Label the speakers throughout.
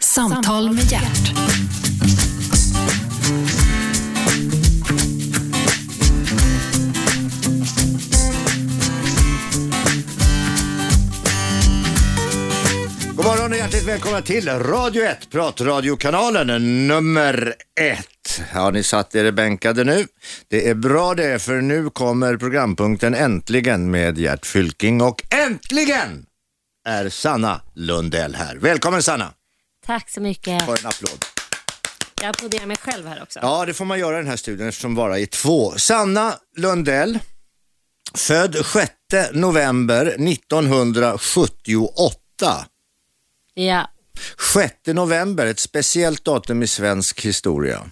Speaker 1: Samtal med hjärt.
Speaker 2: God morgon och hjärtligt välkomna till Radio 1, pratradiokanalen nummer 1. Har ni satt er bänkade nu? Det är bra det, för nu kommer programpunkten Äntligen med Gert Fylking och äntligen är Sanna Lundell här. Välkommen Sanna!
Speaker 3: Tack så mycket.
Speaker 2: Får en applåd.
Speaker 3: Jag applåderar mig själv här också.
Speaker 2: Ja, det får man göra i den här studien eftersom vara är två. Sanna Lundell, född 6 november 1978.
Speaker 3: Ja,
Speaker 2: 6 november, ett speciellt datum i svensk historia.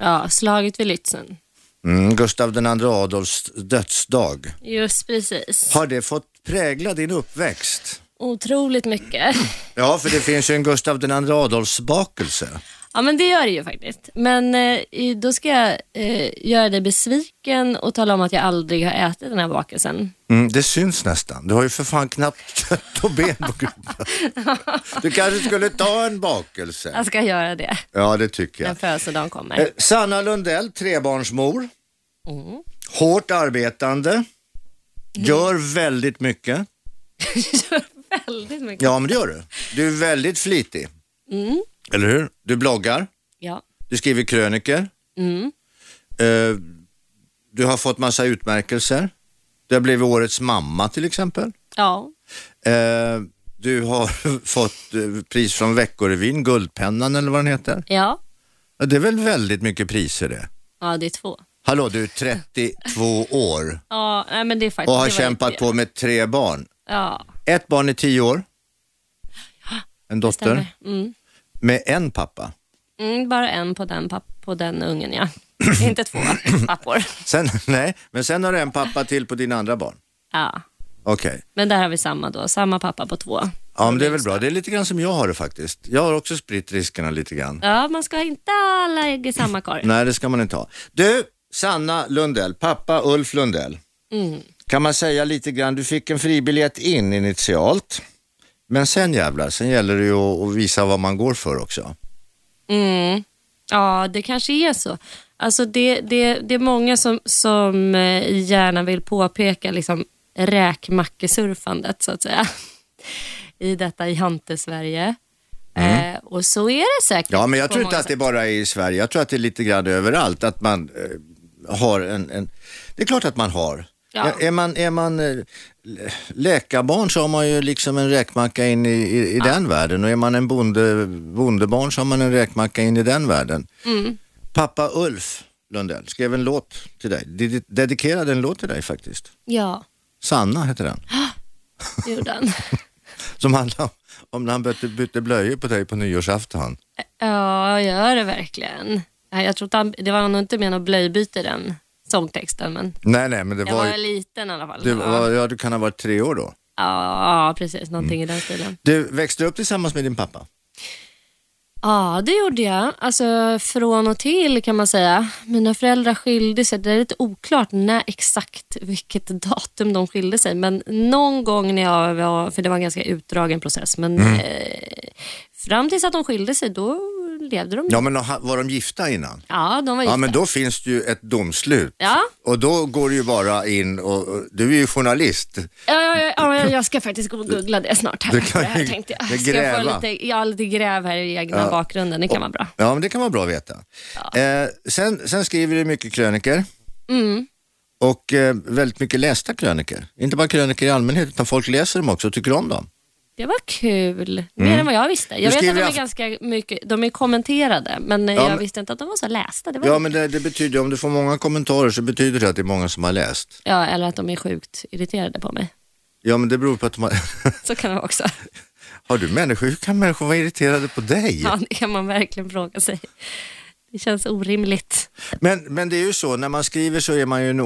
Speaker 3: ja slaget vid Lützen.
Speaker 2: Mm, Gustav II Adolfs dödsdag.
Speaker 3: Just precis.
Speaker 2: Har det fått prägla din uppväxt?
Speaker 3: Otroligt mycket.
Speaker 2: Ja, för det finns ju en Gustav II Adolfs bakelse.
Speaker 3: Ja, men det gör det ju faktiskt. Men eh, då ska jag eh, göra dig besviken och tala om att jag aldrig har ätit den här bakelsen.
Speaker 2: Mm, det syns nästan. Du har ju för fan knappt kött och ben på kroppen. Du kanske skulle ta en bakelse.
Speaker 3: Jag ska göra det
Speaker 2: Ja, det tycker
Speaker 3: när
Speaker 2: jag.
Speaker 3: födelsedagen
Speaker 2: Eh,
Speaker 3: kommer.
Speaker 2: Sanna Lundell, trebarnsmor.
Speaker 3: Mm.
Speaker 2: Hårt arbetande. Gör väldigt mycket.
Speaker 3: Väldigt mycket.
Speaker 2: Ja, men det gör du. Du är väldigt flitig.
Speaker 3: Mm.
Speaker 2: Eller hur? Du bloggar.
Speaker 3: Ja.
Speaker 2: Du skriver kröniker.
Speaker 3: Mm.
Speaker 2: Eh, du har fått massa utmärkelser. Du har blivit årets mamma till exempel.
Speaker 3: ja.
Speaker 2: Eh, du har fått eh, pris från Veckorevyn, Guldpennan eller vad den heter.
Speaker 3: Ja.
Speaker 2: Ja, det är väl väldigt mycket priser det.
Speaker 3: Ja, det är två.
Speaker 2: Hallå, du är 32 år
Speaker 3: Ja, nej, men det är faktiskt...
Speaker 2: och
Speaker 3: det
Speaker 2: har
Speaker 3: var
Speaker 2: kämpat
Speaker 3: det.
Speaker 2: på med tre barn.
Speaker 3: Ja,
Speaker 2: Ett barn är 10 år, en dotter,
Speaker 3: stämmer. Mm.
Speaker 2: med en pappa.
Speaker 3: Mm, bara en på den, papp- på den ungen, ja. Inte två pappor.
Speaker 2: Sen, nej, men sen har du en pappa till på dina andra barn.
Speaker 3: Ja.
Speaker 2: Okej.
Speaker 3: Men där har vi samma då, samma pappa på två.
Speaker 2: Ja, men det är väl bra. Det är lite grann som jag har det faktiskt. Jag har också spritt riskerna lite grann.
Speaker 3: Ja, man ska inte alla ägg i samma korg.
Speaker 2: Nej, det ska man inte ha. Du, Sanna Lundell, pappa Ulf Lundell. Kan man säga lite grann, du fick en fribiljett in initialt. Men sen jävlar, sen gäller det ju att att visa vad man går för också.
Speaker 3: Mm. Ja, det kanske är så. Alltså det, det, det är många som, som eh, gärna vill påpeka liksom räkmackesurfandet, så att säga. I detta jante-Sverige. Eh, och så är det säkert.
Speaker 2: Mm. Ja, men jag
Speaker 3: på
Speaker 2: tror inte
Speaker 3: många
Speaker 2: att det bara är i Sverige. Jag tror att det är lite grann överallt, att man eh, har en, en... Det är klart att man har.
Speaker 3: Ja.
Speaker 2: Är- Är man, är man eh, lä- läkarbarn så har man ju liksom en räkmacka in i, i, i den världen och är man en bonde, bondebarn så har man en räkmacka in i den världen.
Speaker 3: Mm.
Speaker 2: Pappa Ulf Lundell skrev en låt till dig, Ded- dedikerade en låt till dig faktiskt.
Speaker 3: Ja,
Speaker 2: Sanna heter den,
Speaker 3: det gjorde han.
Speaker 2: som handlar om, om när han bytte, bytte blöjor på dig på nyårsafton.
Speaker 3: Ja, jag gör det verkligen. Nej, Jag tror inte han, det var nog inte mer något blöjbyte i den sångtexten, men
Speaker 2: Nej, nej, men det
Speaker 3: jag
Speaker 2: var,
Speaker 3: var,
Speaker 2: ju-
Speaker 3: liten i alla fall.
Speaker 2: du,
Speaker 3: ja.
Speaker 2: var, ja, du kan ha varit tre år då.
Speaker 3: ja, precis. Någonting i den stilen.
Speaker 2: Du växte upp tillsammans med din pappa?
Speaker 3: Ja, det gjorde jag. Alltså från och till kan man säga. Mina föräldrar skilde sig. Det är lite oklart när exakt vilket datum de skilde sig. Men någon gång när jag var, för det var en ganska utdragen process, men
Speaker 2: Mm.
Speaker 3: eh, fram tills att de skilde sig, då levde de. Ja,
Speaker 2: Ja, men ha- var de gifta innan?
Speaker 3: de var gifta.
Speaker 2: Ja, men då finns det ju ett domslut.
Speaker 3: ja.
Speaker 2: Och då går du ju bara in och, och du är ju journalist.
Speaker 3: Ja, ja, ja, ja, jag ska faktiskt gå och googla det snart. Här,
Speaker 2: Du kan
Speaker 3: det här
Speaker 2: ju
Speaker 3: tänkte jag.
Speaker 2: gräva.
Speaker 3: Ska jag få lite, ja, lite gräv här i egna bakgrunden, det kan vara bra.
Speaker 2: Ja, men det kan vara bra att veta. Eh, sen, sen skriver du mycket kröniker
Speaker 3: Mm.
Speaker 2: och eh, väldigt mycket lästa kröniker. Inte bara kröniker i allmänhet, utan folk läser dem också och tycker om dem.
Speaker 3: Det var kul, mer än vad jag visste. Jag vet
Speaker 2: Mm. skriver
Speaker 3: att de
Speaker 2: i
Speaker 3: är
Speaker 2: Aft-
Speaker 3: ganska mycket, de är kommenterade, men eh, jag
Speaker 2: men-
Speaker 3: visste inte att de var så lästa. Det var
Speaker 2: Ja, men det, det betyder om du får många kommentarer så betyder det att det är många som har läst.
Speaker 3: ja, eller att de är sjukt irriterade på mig.
Speaker 2: Ja, men det beror på att man...
Speaker 3: Så kan det vara också.
Speaker 2: har du människor, hur kan människor vara irriterade på dig?
Speaker 3: Ja, det kan man verkligen fråga sig. Det känns orimligt.
Speaker 2: Men, men det är ju så, när man skriver så är man ju en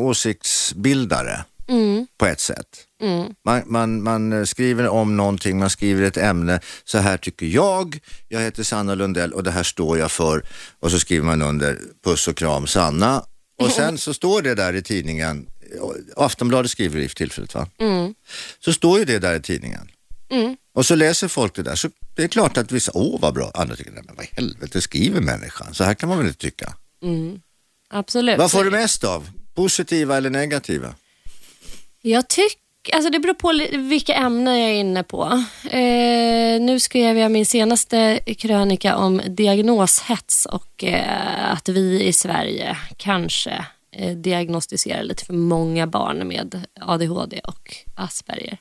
Speaker 2: åsiktsbildare
Speaker 3: Mm,
Speaker 2: på ett sätt.
Speaker 3: mm,
Speaker 2: Man, man, man eh, skriver om någonting, man skriver ett ämne. Så här tycker jag, jag heter Sanna Lundell och det här står jag för. Och så skriver man under puss och kram Sanna. Och sen så står det där i tidningen, eh, Aftonbladet skriver det i tillfället va?
Speaker 3: mm,
Speaker 2: Så står ju det där i tidningen.
Speaker 3: mm.
Speaker 2: Och så läser folk det där så det är klart att vissa, åh vad bra, andra tycker, nej men vad i helvete skriver människan? Så här kan man väl inte tycka.
Speaker 3: Mm. Absolut.
Speaker 2: Vad får du mest av? Positiva eller negativa?
Speaker 3: Jag tycker, alltså det beror på li- vilka ämnen jag är inne på. Eh, nu skrev jag min senaste krönika om diagnoshets och eh, att vi i Sverige kanske eh, diagnostiserar lite för många barn med ADHD och Asperger.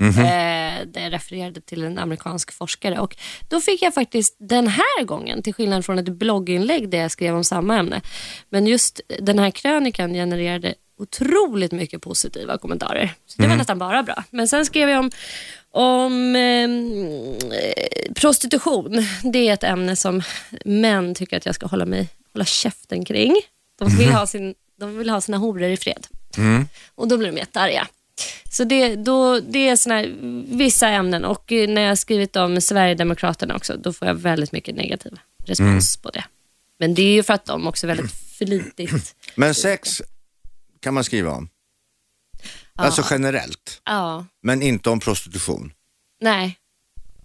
Speaker 3: Eh, det refererade till en amerikansk forskare och då fick jag faktiskt den här gången, till skillnad från ett blogginlägg där jag skrev om samma ämne, men just den här krönikan genererade otroligt mycket positiva kommentarer. Så det var nästan bara bra. Men sen skrev jag om, om eh, prostitution. Det är ett ämne som män tycker att jag ska hålla, mig, hålla käften kring. De vill, ha sin, de vill ha sina horor i fred. Och då blir de jättearga. Så det, då, det är såna här, vissa ämnen och eh, när jag har skrivit om Sverigedemokraterna också, då får jag väldigt mycket negativ respons på det. Men det är ju för att de också är väldigt flitigt
Speaker 2: Men sex kan man skriva om. Alltså generellt,
Speaker 3: Ja,
Speaker 2: men inte om prostitution.
Speaker 3: nej.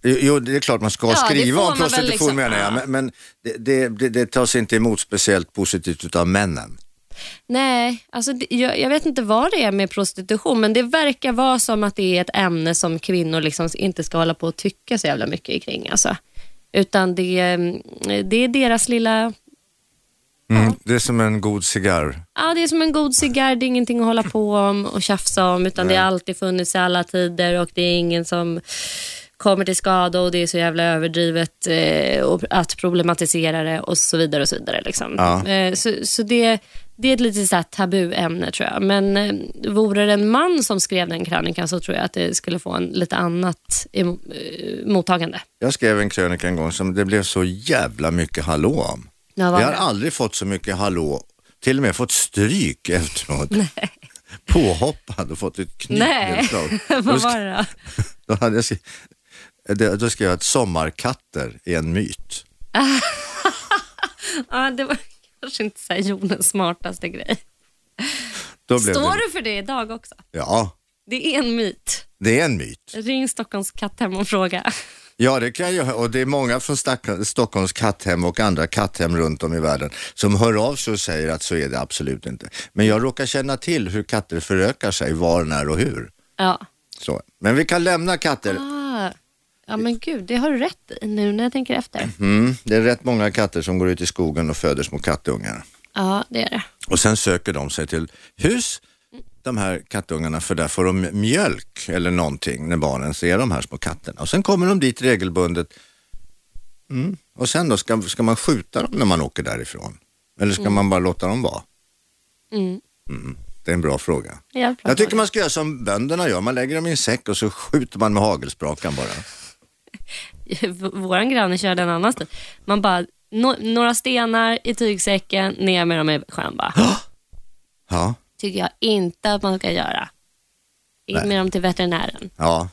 Speaker 2: Jo, Jo, det är klart man ska
Speaker 3: Ja, det
Speaker 2: skriva
Speaker 3: får
Speaker 2: om
Speaker 3: man väl
Speaker 2: prostitution
Speaker 3: liksom,
Speaker 2: menar jag,
Speaker 3: ja.
Speaker 2: men, men det, det, det, det tas inte emot speciellt positivt utav männen.
Speaker 3: Nej, alltså, det- jag, jag vet inte vad det är med prostitution, men det verkar vara som att det är ett ämne som kvinnor liksom inte ska hålla på och tycka så jävla mycket kring. Alltså. Utan det, mm, det är deras lilla...
Speaker 2: Mm. Det är som en god cigarr.
Speaker 3: Ja, det är som en god cigarr, det är ingenting att hålla på om och tjafsa om, utan det har alltid funnits i alla tider och det är ingen som kommer till skada och det är så jävla överdrivet eh, och att problematisera det och så vidare och så vidare. Liksom.
Speaker 2: Ja.
Speaker 3: Eh, så så det, det är ett lite så här tabuämne tror jag. Men eh, vore det en man som skrev den krönikan så tror jag att det skulle få en lite annat emo- eh, mottagande.
Speaker 2: Jag skrev en krönika en gång som det blev så jävla mycket hallå om.
Speaker 3: Ja, vad
Speaker 2: Jag har
Speaker 3: bra.
Speaker 2: aldrig fått så mycket hallå, till och med fått stryk efteråt. Påhoppad och fått ett
Speaker 3: Nej,
Speaker 2: knytnävsslag.
Speaker 3: vad var det då?
Speaker 2: Då, hade jag skri... det- då skrev jag att sommarkatter är en myt.
Speaker 3: Ja, det var kanske inte så här jordens smartaste grej.
Speaker 2: Då blev
Speaker 3: Står
Speaker 2: det...
Speaker 3: du för det idag också?
Speaker 2: Ja,
Speaker 3: Det är en myt.
Speaker 2: det är en myt.
Speaker 3: Ring Stockholms katthem och fråga.
Speaker 2: Ja, det kan jag Och det är många från Stack- Stockholms katthem och andra katthem runt om i världen som hör av sig och säger att så är det absolut inte. Men jag råkar känna till hur katter förökar sig, var, när och hur.
Speaker 3: Ja.
Speaker 2: Så. Men vi kan lämna katter.
Speaker 3: Ah, ja, men gud, det har du rätt i nu när jag tänker efter.
Speaker 2: Mm, det är rätt många katter som går ut i skogen och föder små kattungar.
Speaker 3: Ja, det är det.
Speaker 2: Och sen söker de sig till hus, de här kattungarna, för där får de mjölk eller någonting när barnen ser de här små katterna. Och sen kommer de dit regelbundet. Mm. Och sen då, ska, ska man skjuta dem när man åker därifrån? Eller ska man bara låta dem vara?
Speaker 3: Mm.
Speaker 2: Mm. Det är en bra fråga.
Speaker 3: Jag,
Speaker 2: Jag tycker man ska göra som bönderna gör, man lägger dem i en säck och så skjuter man med hagelsprakan bara.
Speaker 3: Vår granne körde en annan stil. Man bara, no, några stenar i tygsäcken, ner med dem i sjön bara.
Speaker 2: Ja,
Speaker 3: tycker jag inte att man ska göra. In med dem till veterinären.
Speaker 2: ja.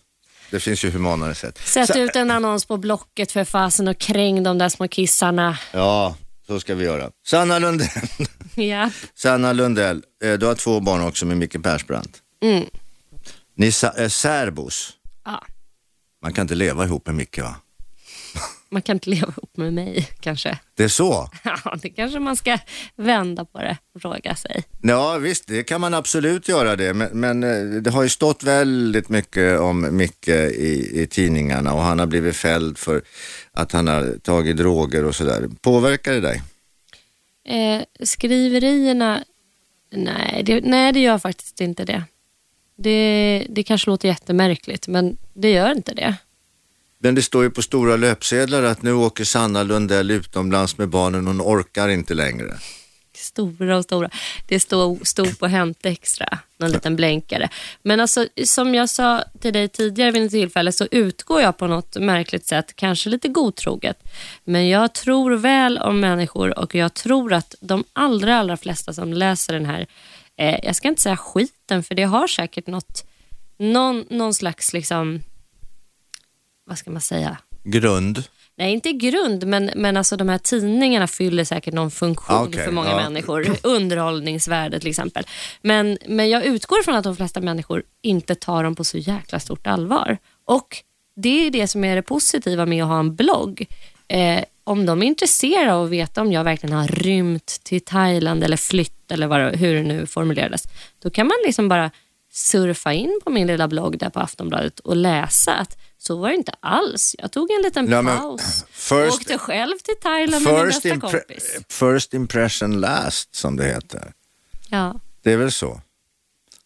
Speaker 2: det finns ju humanare sätt.
Speaker 3: Sätt
Speaker 2: Så-
Speaker 3: ut en annons på Blocket för fasen och kräng de där små kissarna.
Speaker 2: Ja, så ska vi göra. Sanna Lundell.
Speaker 3: Ja.
Speaker 2: Sanna Lundell, eh, du har två barn också med Micke Persbrandt.
Speaker 3: Mm.
Speaker 2: Ni är sa- är särbos.
Speaker 3: ja.
Speaker 2: Man kan inte leva ihop med Micke va?
Speaker 3: Man kan inte leva ihop med mig kanske.
Speaker 2: Det är så?
Speaker 3: Ja, det kanske man ska vända på det och fråga sig.
Speaker 2: Ja visst, det kan man absolut göra det. Men, men eh, det har ju stått väldigt mycket om Micke i, i tidningarna och han har blivit fälld för att han har tagit droger och sådär. Påverkar det dig?
Speaker 3: Eh, skriverierna, nej det, nej det gör faktiskt inte det. det. Det kanske låter jättemärkligt, men det gör inte det.
Speaker 2: Men det står ju på stora löpsedlar att nu åker Sanna Lundell utomlands med barnen, hon orkar inte längre.
Speaker 3: Stora och stora. Det stod, stod på Hänt Extra, någon liten blänkare. Men alltså, som jag sa till dig tidigare vid ett tillfälle så utgår jag på något märkligt sätt, kanske lite godtroget. Men jag tror väl om människor och jag tror att de allra, allra flesta som läser den här, eh, jag ska inte säga skiten, för det har säkert något, någon, någon slags, liksom, vad ska man säga?
Speaker 2: Grund?
Speaker 3: Nej, inte i grund, men, men alltså de här tidningarna fyller säkert någon funktion
Speaker 2: Ah, okej,
Speaker 3: för många
Speaker 2: ja.
Speaker 3: människor. Underhållningsvärde till exempel. Men, men jag utgår från att de flesta människor inte tar dem på så jäkla stort allvar. Och det är det som är det positiva med att ha en blogg. Eh, om de är intresserade av att veta om jag verkligen har rymt till Thailand eller flytt eller vad, hur det nu formulerades, då kan man liksom bara surfa in på min lilla blogg där på Aftonbladet och läsa att så var det inte alls. Jag tog en liten
Speaker 2: Nej, men,
Speaker 3: paus.
Speaker 2: first-
Speaker 3: åkte själv till Thailand med min
Speaker 2: First,
Speaker 3: bästa
Speaker 2: impre-
Speaker 3: kompis.
Speaker 2: first impression last som det heter.
Speaker 3: Ja.
Speaker 2: Det är väl så.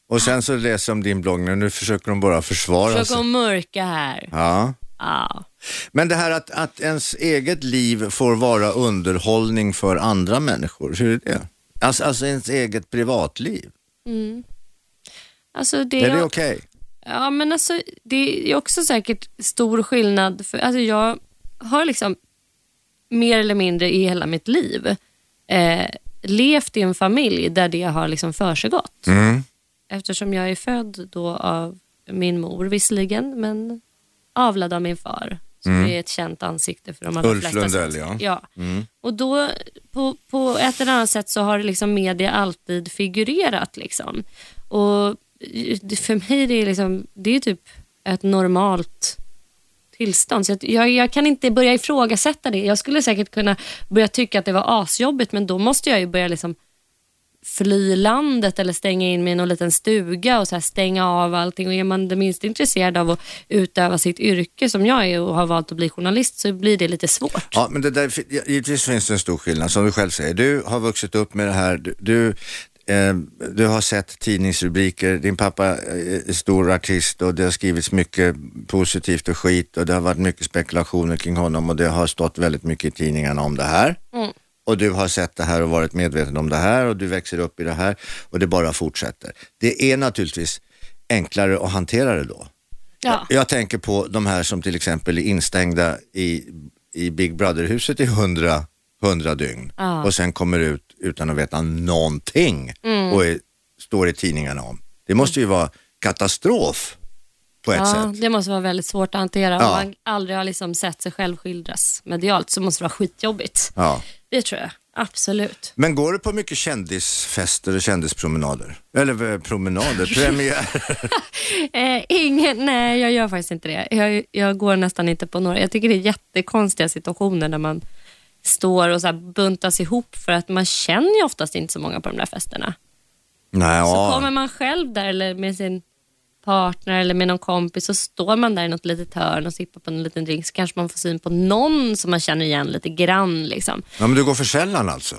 Speaker 2: Och sen så läser de din blogg nu, nu försöker de bara försvara
Speaker 3: Försök
Speaker 2: sig.
Speaker 3: att mörka här.
Speaker 2: Ja.
Speaker 3: Ja.
Speaker 2: Men det här att, att ens eget liv får vara underhållning för andra människor, hur är det? Alltså, alltså ens eget privatliv,
Speaker 3: Alltså det,
Speaker 2: är det
Speaker 3: jag-
Speaker 2: okej?
Speaker 3: Ja, men alltså, det är också säkert stor skillnad. För, alltså, jag har liksom mer eller mindre i hela mitt liv eh, levt i en familj där det har liksom försiggått.
Speaker 2: Mm.
Speaker 3: Eftersom jag är född då av min mor visserligen, men avlad av min far. Som är ett känt ansikte för de allra
Speaker 2: Mm. Ulf
Speaker 3: flesta.
Speaker 2: Lundell, Mm.
Speaker 3: svenskar. ja. Och då på, på ett eller annat sätt så har liksom media alltid figurerat. Liksom. Och det- för mig det är liksom, det är typ ett normalt tillstånd. Så att jag, jag kan inte börja ifrågasätta det. Jag skulle säkert kunna börja tycka att det var asjobbigt, men då måste jag ju börja liksom fly landet eller stänga in mig i någon liten stuga och så här stänga av allting. Och är man det minst intresserad av att utöva sitt yrke som jag är och har valt att bli journalist så blir det lite svårt.
Speaker 2: Ja, men det där, givetvis finns det en stor skillnad, som du själv säger. Du har vuxit upp med det här, du, du, eh, du har sett tidningsrubriker, din pappa eh, är stor artist och det har skrivits mycket positivt och skit och det har varit mycket spekulationer kring honom och det har stått väldigt mycket i tidningarna om det här. Och du har sett det här och varit medveten om det här och du växer upp i det här och det bara fortsätter. Det är naturligtvis enklare att hantera det då.
Speaker 3: Ja.
Speaker 2: Jag tänker på de här som till exempel är instängda i, i Big Brother-huset i hundra, hundra dygn
Speaker 3: Ja.
Speaker 2: och sen kommer ut utan att veta någonting
Speaker 3: Mm.
Speaker 2: och är, står i tidningarna om. Det måste ju vara katastrof på ett
Speaker 3: Ja,
Speaker 2: sätt.
Speaker 3: det måste vara väldigt svårt att hantera.
Speaker 2: Ja.
Speaker 3: Om man aldrig har liksom sett sig själv skildras medialt så måste det vara skitjobbigt.
Speaker 2: Ja.
Speaker 3: Det tror jag, absolut.
Speaker 2: Men går du på mycket kändisfester och kändispromenader? Eller eh, promenader, premiär?
Speaker 3: Eh, ingen, nej, jag gör faktiskt inte det. Jag, jag går nästan inte på några. Jag tycker det är jättekonstiga situationer när man står och så här buntas ihop för att man känner ju oftast inte så många på de där festerna.
Speaker 2: Nej,
Speaker 3: Så
Speaker 2: ja.
Speaker 3: kommer man själv där eller med sin partner eller med någon kompis så står man där i något litet hörn och sippar på en liten drink så kanske man får syn på någon som man känner igen lite grann. Liksom.
Speaker 2: ja, men du går för sällan alltså?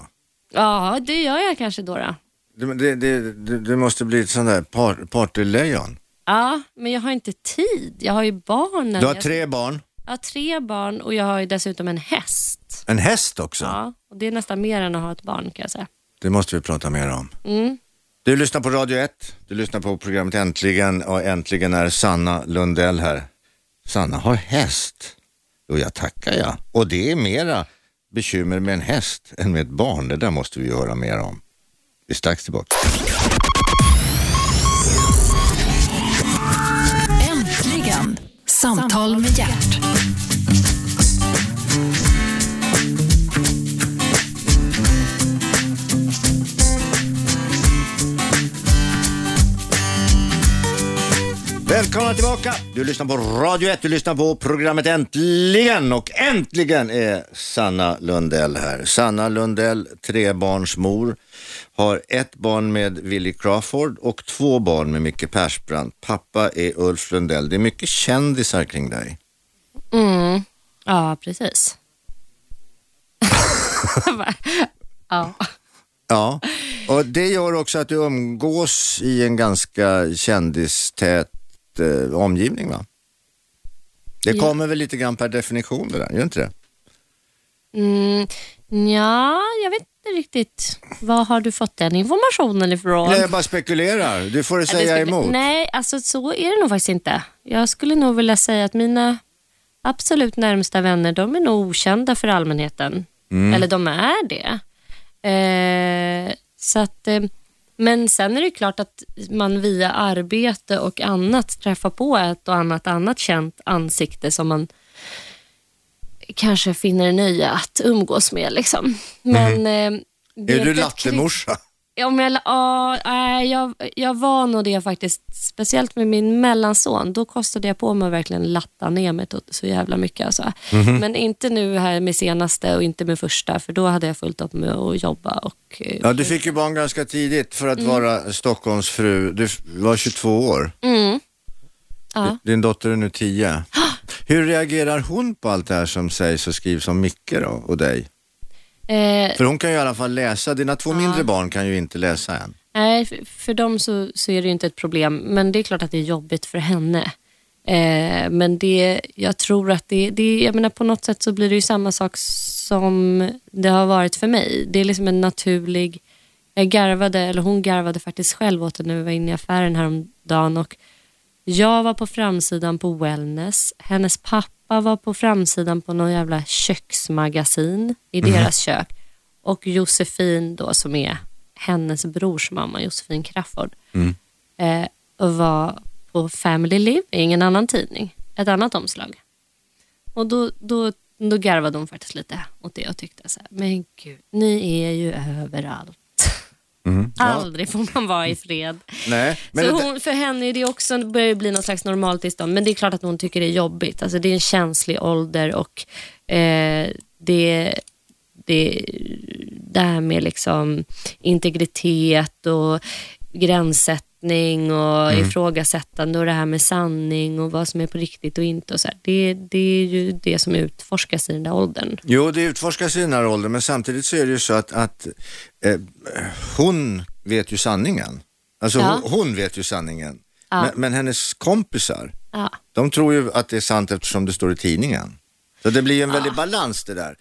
Speaker 3: Ja, det gör jag kanske då. då.
Speaker 2: Du, det, det, du, du måste bli ett sånt där par, partylejon.
Speaker 3: Ja, men jag har inte tid. Jag har ju barnen.
Speaker 2: Du har
Speaker 3: Jag-
Speaker 2: tre barn,
Speaker 3: Jag har tre barn och jag har ju dessutom en häst.
Speaker 2: en häst också.
Speaker 3: Ja, och det är nästan mer än att ha ett barn kan jag säga.
Speaker 2: Det måste vi prata mer om.
Speaker 3: Mm.
Speaker 2: Du lyssnar på Radio 1, du lyssnar på programmet Äntligen och äntligen är Sanna Lundell här. Sanna har häst. Jo, jag tackar jag. Och det är mera bekymmer med en häst än med ett barn. Det där måste vi ju höra mer om. Vi är strax tillbaka.
Speaker 1: Äntligen! Samtal med hjärt.
Speaker 2: Välkomna tillbaka! Du lyssnar på Radio 1, du lyssnar på programmet Äntligen och äntligen är Sanna Lundell här. Sanna Lundell, trebarnsmor, har ett barn med Willy Crawford och två barn med Micke Persbrandt. Pappa är Ulf Lundell. Det är mycket kändisar kring dig.
Speaker 3: Mm. Ja, precis. Va? ja.
Speaker 2: Ja, och det gör också att du umgås i en ganska kändistät eh, omgivning va? Det
Speaker 3: Ja.
Speaker 2: kommer väl lite grann per definition det där, gör inte det?
Speaker 3: Mm. Ja, jag vet inte riktigt. Var har du fått den informationen ifrån?
Speaker 2: Nej, jag bara spekulerar. Du får
Speaker 3: Ja, det
Speaker 2: säga
Speaker 3: skulle-
Speaker 2: emot.
Speaker 3: Nej, alltså så är det nog faktiskt inte. Jag skulle nog vilja säga att mina absolut närmsta vänner, de är nog okända för allmänheten.
Speaker 2: Mm.
Speaker 3: Eller de är det. Eh, så att, eh, men sen är det klart att man via arbete och annat träffar på ett och annat annat känt ansikte som man kanske finner nöje att umgås med. Liksom. Men, eh, det
Speaker 2: Mm. Är du
Speaker 3: inte ett kri-
Speaker 2: lattemorsa?
Speaker 3: Om jag, ja, nej, jag, jag var nog det faktiskt. Speciellt med min mellanson. Då kostade jag på mig att verkligen latta ner mig tot- så jävla mycket. Alltså. Men inte nu här med senaste och inte med första, för då hade jag fullt upp med att jobba. Och, eh,
Speaker 2: Ja, du fick ju barn ganska tidigt för att vara Stockholmsfru. Du f- var 22 år.
Speaker 3: mm. ja.
Speaker 2: Din dotter är nu 10. Hur reagerar hon på allt det här som sägs och skrivs om Micke då, och dig?
Speaker 3: eh,
Speaker 2: För hon kan ju i alla fall läsa. Dina två mindre barn kan ju inte läsa än.
Speaker 3: Nej, för, för dem så, så är det ju inte ett problem, men det är klart att det är jobbigt för henne. Eh, men det, jag tror att det, det, jag menar på något sätt så blir det ju samma sak som det har varit för mig. Det är liksom en naturlig, jag garvade, eller hon garvade faktiskt själv åt det när vi var inne i affären häromdagen och jag var på framsidan på Wellness, hennes pappa var på framsidan på någon jävla köksmagasin i deras kök och Josefin då som är hennes brors mamma, Josefin Crafoord, eh, och var på Family Living, en annan tidning, ett annat omslag. Och då, då, då garvade hon faktiskt lite åt det och tyckte så här, men gud, ni är ju överallt. Aldrig får man vara i fred.
Speaker 2: Nej, men
Speaker 3: så
Speaker 2: det-
Speaker 3: hon, för henne är det också, det börjar ju bli någon slags normaltillstånd. Men det är klart att hon tycker det är jobbigt. Alltså det är en känslig ålder och eh, det, det, det här med liksom integritet och gränssättning och
Speaker 2: Mm.
Speaker 3: ifrågasättande och det här med sanning och vad som är på riktigt och inte. Och så här. Det, det är ju det som utforskas i den där åldern.
Speaker 2: Jo, det utforskas i den här åldern, men samtidigt så är det ju så att, att eh, hon vet ju sanningen. Alltså
Speaker 3: Ja.
Speaker 2: hon, hon vet ju sanningen.
Speaker 3: Ja.
Speaker 2: Men, men hennes kompisar,
Speaker 3: Ja.
Speaker 2: de tror ju att det är sant eftersom det står i tidningen. Så det blir ju en väldig balans det där.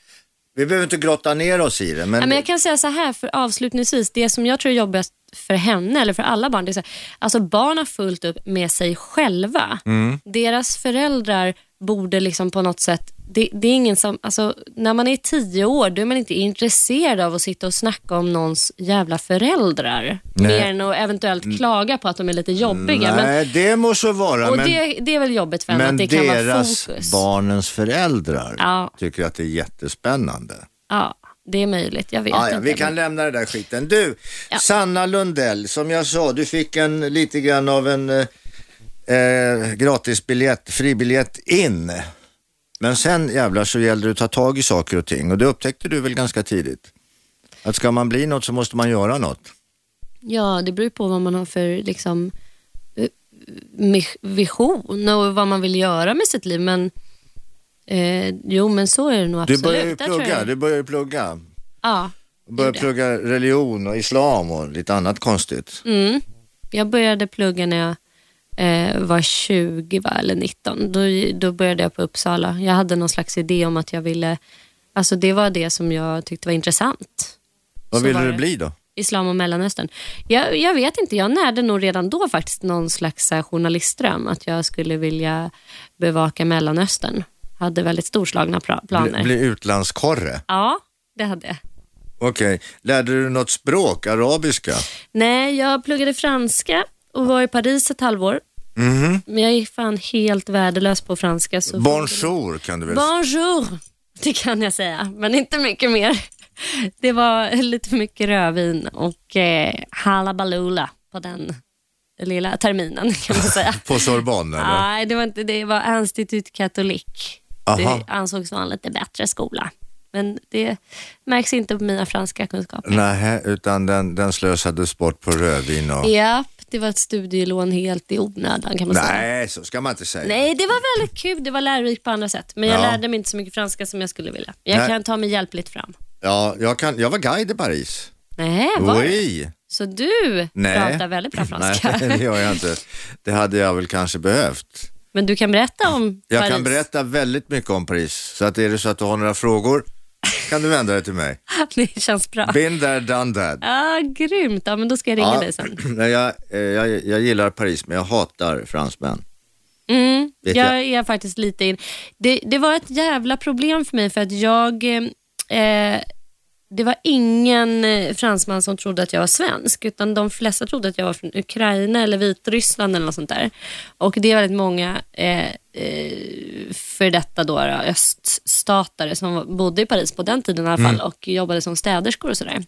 Speaker 2: Vi behöver inte grotta ner oss i det, men,
Speaker 3: Ja, men jag kan säga så här för avslutningsvis, det som jag tror är jobbigast för henne eller för alla barn, det är så här, alltså barn har fullt upp med sig själva.
Speaker 2: Mm.
Speaker 3: Deras föräldrar borde liksom på något sätt, det, det är ingen som, alltså, när man är tio år då är man inte intresserad av att sitta och snacka om någons jävla föräldrar.
Speaker 2: Nej. Mm.
Speaker 3: Mer än att eventuellt klaga på att de är lite jobbiga. Men,
Speaker 2: nej, det må så vara.
Speaker 3: och
Speaker 2: men
Speaker 3: det, det är väl jobbigt för henne
Speaker 2: men
Speaker 3: att det kan vara
Speaker 2: deras
Speaker 3: fokus.
Speaker 2: barnens föräldrar
Speaker 3: Ja.
Speaker 2: tycker att det är jättespännande.
Speaker 3: Ja, det är möjligt, jag vet
Speaker 2: Ja, ja,
Speaker 3: inte.
Speaker 2: vi
Speaker 3: men-
Speaker 2: kan lämna den där skiten. Du,
Speaker 3: Ja.
Speaker 2: Sanna Lundell, som jag sa, du fick en lite grann av en eh, eh, gratisbiljett, fribiljett in. Men sen jävlar så gällde det att ta tag i saker och ting och det upptäckte du väl ganska tidigt? Att ska man bli något så måste man göra något.
Speaker 3: Ja, det beror på vad man har för liksom, eh, mi- vision och vad man vill göra med sitt liv. Men, eh, jo, men så är det nog
Speaker 2: Du
Speaker 3: absolut.
Speaker 2: började ju
Speaker 3: Där tror
Speaker 2: plugga,
Speaker 3: jag-
Speaker 2: du började ju plugga.
Speaker 3: Ja,
Speaker 2: Du började
Speaker 3: Gjorde.
Speaker 2: plugga religion och islam och lite annat konstigt.
Speaker 3: mm. Jag började plugga när jag eh, var 20 va, eller 19. Då, då började jag på Uppsala. Jag hade någon slags idé om att jag ville... Alltså det var det som jag tyckte var intressant.
Speaker 2: Vad
Speaker 3: Så
Speaker 2: ville
Speaker 3: var
Speaker 2: du
Speaker 3: det.
Speaker 2: bli då?
Speaker 3: Islam och Mellanöstern. Jag, jag vet inte, jag närde nog redan då faktiskt någon slags så här, journalistdröm, att jag skulle vilja bevaka Mellanöstern. Hade väldigt storslagna pra- planer.
Speaker 2: Bli, bli utlandskorre?
Speaker 3: Ja, det hade jag.
Speaker 2: Okej, lärde du något språk, arabiska?
Speaker 3: Nej, jag pluggade franska och var i Paris ett halvår.
Speaker 2: Mhm.
Speaker 3: Men jag är fan helt värdelös på franska. Så
Speaker 2: Bonjour kan du väl säga?
Speaker 3: Bonjour, det kan jag säga, men inte mycket mer. Det var lite för mycket rödvin och eh, halabaloola på den lilla terminen kan man säga.
Speaker 2: På Sorbonne eller?
Speaker 3: Nej, det var inte det. var Institut Catholique.
Speaker 2: Aha.
Speaker 3: Det ansågs vara en lite bättre skola. Men det märks inte på mina franska kunskaper.
Speaker 2: Nej, utan den, den slösades bort på rödvin och...
Speaker 3: Ja, det var ett studielån helt i onödan kan man säga.
Speaker 2: Nej, så ska man inte säga.
Speaker 3: Nej, det var väldigt kul. Det var lärorikt på andra sätt. Men jag
Speaker 2: Ja.
Speaker 3: lärde mig inte så mycket franska som jag skulle vilja. Jag
Speaker 2: Nej.
Speaker 3: kan ta mig hjälpligt fram.
Speaker 2: Ja, jag, kan, jag var guide i Paris.
Speaker 3: Nej, var det?
Speaker 2: Oui.
Speaker 3: Så du
Speaker 2: Nej.
Speaker 3: pratar väldigt bra franska.
Speaker 2: Nej, det gör jag inte. Det hade jag väl kanske behövt.
Speaker 3: Men du kan berätta om
Speaker 2: Jag
Speaker 3: Paris.
Speaker 2: kan berätta väldigt mycket om Paris, så att är det så att du har några frågor kan du vända dig till mig.
Speaker 3: Det känns bra.
Speaker 2: Been there, done that.
Speaker 3: Ja, grymt. Ja, men då ska jag ringa dig sen.
Speaker 2: nej, jag, eh, jag, jag gillar Paris, men jag hatar fransmän.
Speaker 3: Mm,
Speaker 2: Vet
Speaker 3: jag, är faktiskt lite in. Det, det var ett jävla problem för mig för att jag... Eh, det var ingen eh, fransman som trodde att jag var svensk utan de flesta trodde att jag var från Ukraina eller Vitryssland eller något sånt där. Och det är väldigt många eh, eh, för detta då, då,
Speaker 2: Mm.
Speaker 3: öststatare som bodde i Paris på den tiden i alla fall och jobbade som städerskor och sådär.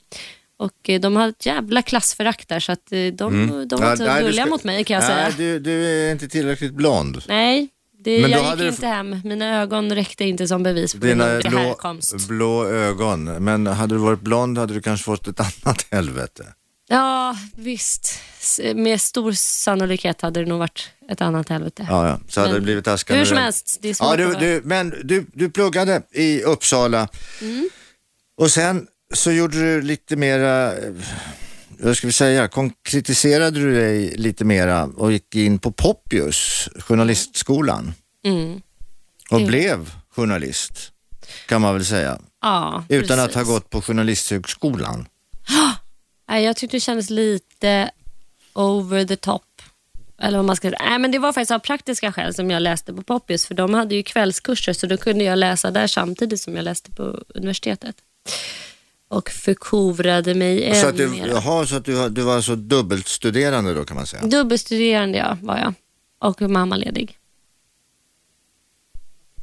Speaker 3: Och eh, de hade ett jävla klassförakt där så att eh, de, de var
Speaker 2: Mm. Ja,
Speaker 3: inte
Speaker 2: nej, du
Speaker 3: gulliga
Speaker 2: ska-
Speaker 3: mot mig kan jag
Speaker 2: nej,
Speaker 3: säga.
Speaker 2: Du, du är inte tillräckligt blond.
Speaker 3: Nej, det,
Speaker 2: Men
Speaker 3: jag
Speaker 2: då
Speaker 3: gick
Speaker 2: hade du-
Speaker 3: inte hem. Mina ögon räckte inte som bevis på min
Speaker 2: Dina
Speaker 3: undre
Speaker 2: blå,
Speaker 3: härkomst.
Speaker 2: blå ögon. Men hade du varit blond hade du kanske fått ett annat helvete.
Speaker 3: Ja, visst. S- Med stor sannolikhet hade det nog varit ett annat helvete.
Speaker 2: Ja, ja. Så hade
Speaker 3: Men
Speaker 2: det blivit askande.
Speaker 3: hur som helst, det är svårt
Speaker 2: ja, du,
Speaker 3: att vara-
Speaker 2: du, Men du, du pluggade i Uppsala
Speaker 3: Mm.
Speaker 2: och sen så gjorde du lite mera, eh, vad ska vi säga, konkretiserade du dig lite mera och gick in på Poppius, journalistskolan
Speaker 3: Mm.
Speaker 2: och
Speaker 3: Det-
Speaker 2: blev journalist kan man väl säga.
Speaker 3: Ja,
Speaker 2: Utan att
Speaker 3: precis.
Speaker 2: ha gått på journalisthögskolan.
Speaker 3: Nej, jag tyckte det kändes lite over the top. Eller vad man ska säga. Nej, men det var faktiskt av praktiska skäl som jag läste på Poppis, för de hade ju kvällskurser, så då kunde jag läsa där samtidigt som jag läste på universitetet. Och förkovrade mig ännu
Speaker 2: Så att, du,
Speaker 3: mer.
Speaker 2: jaha, så att du, du var alltså dubbelstuderande då kan man säga.
Speaker 3: Dubbelstuderande ja, var jag och mammaledig.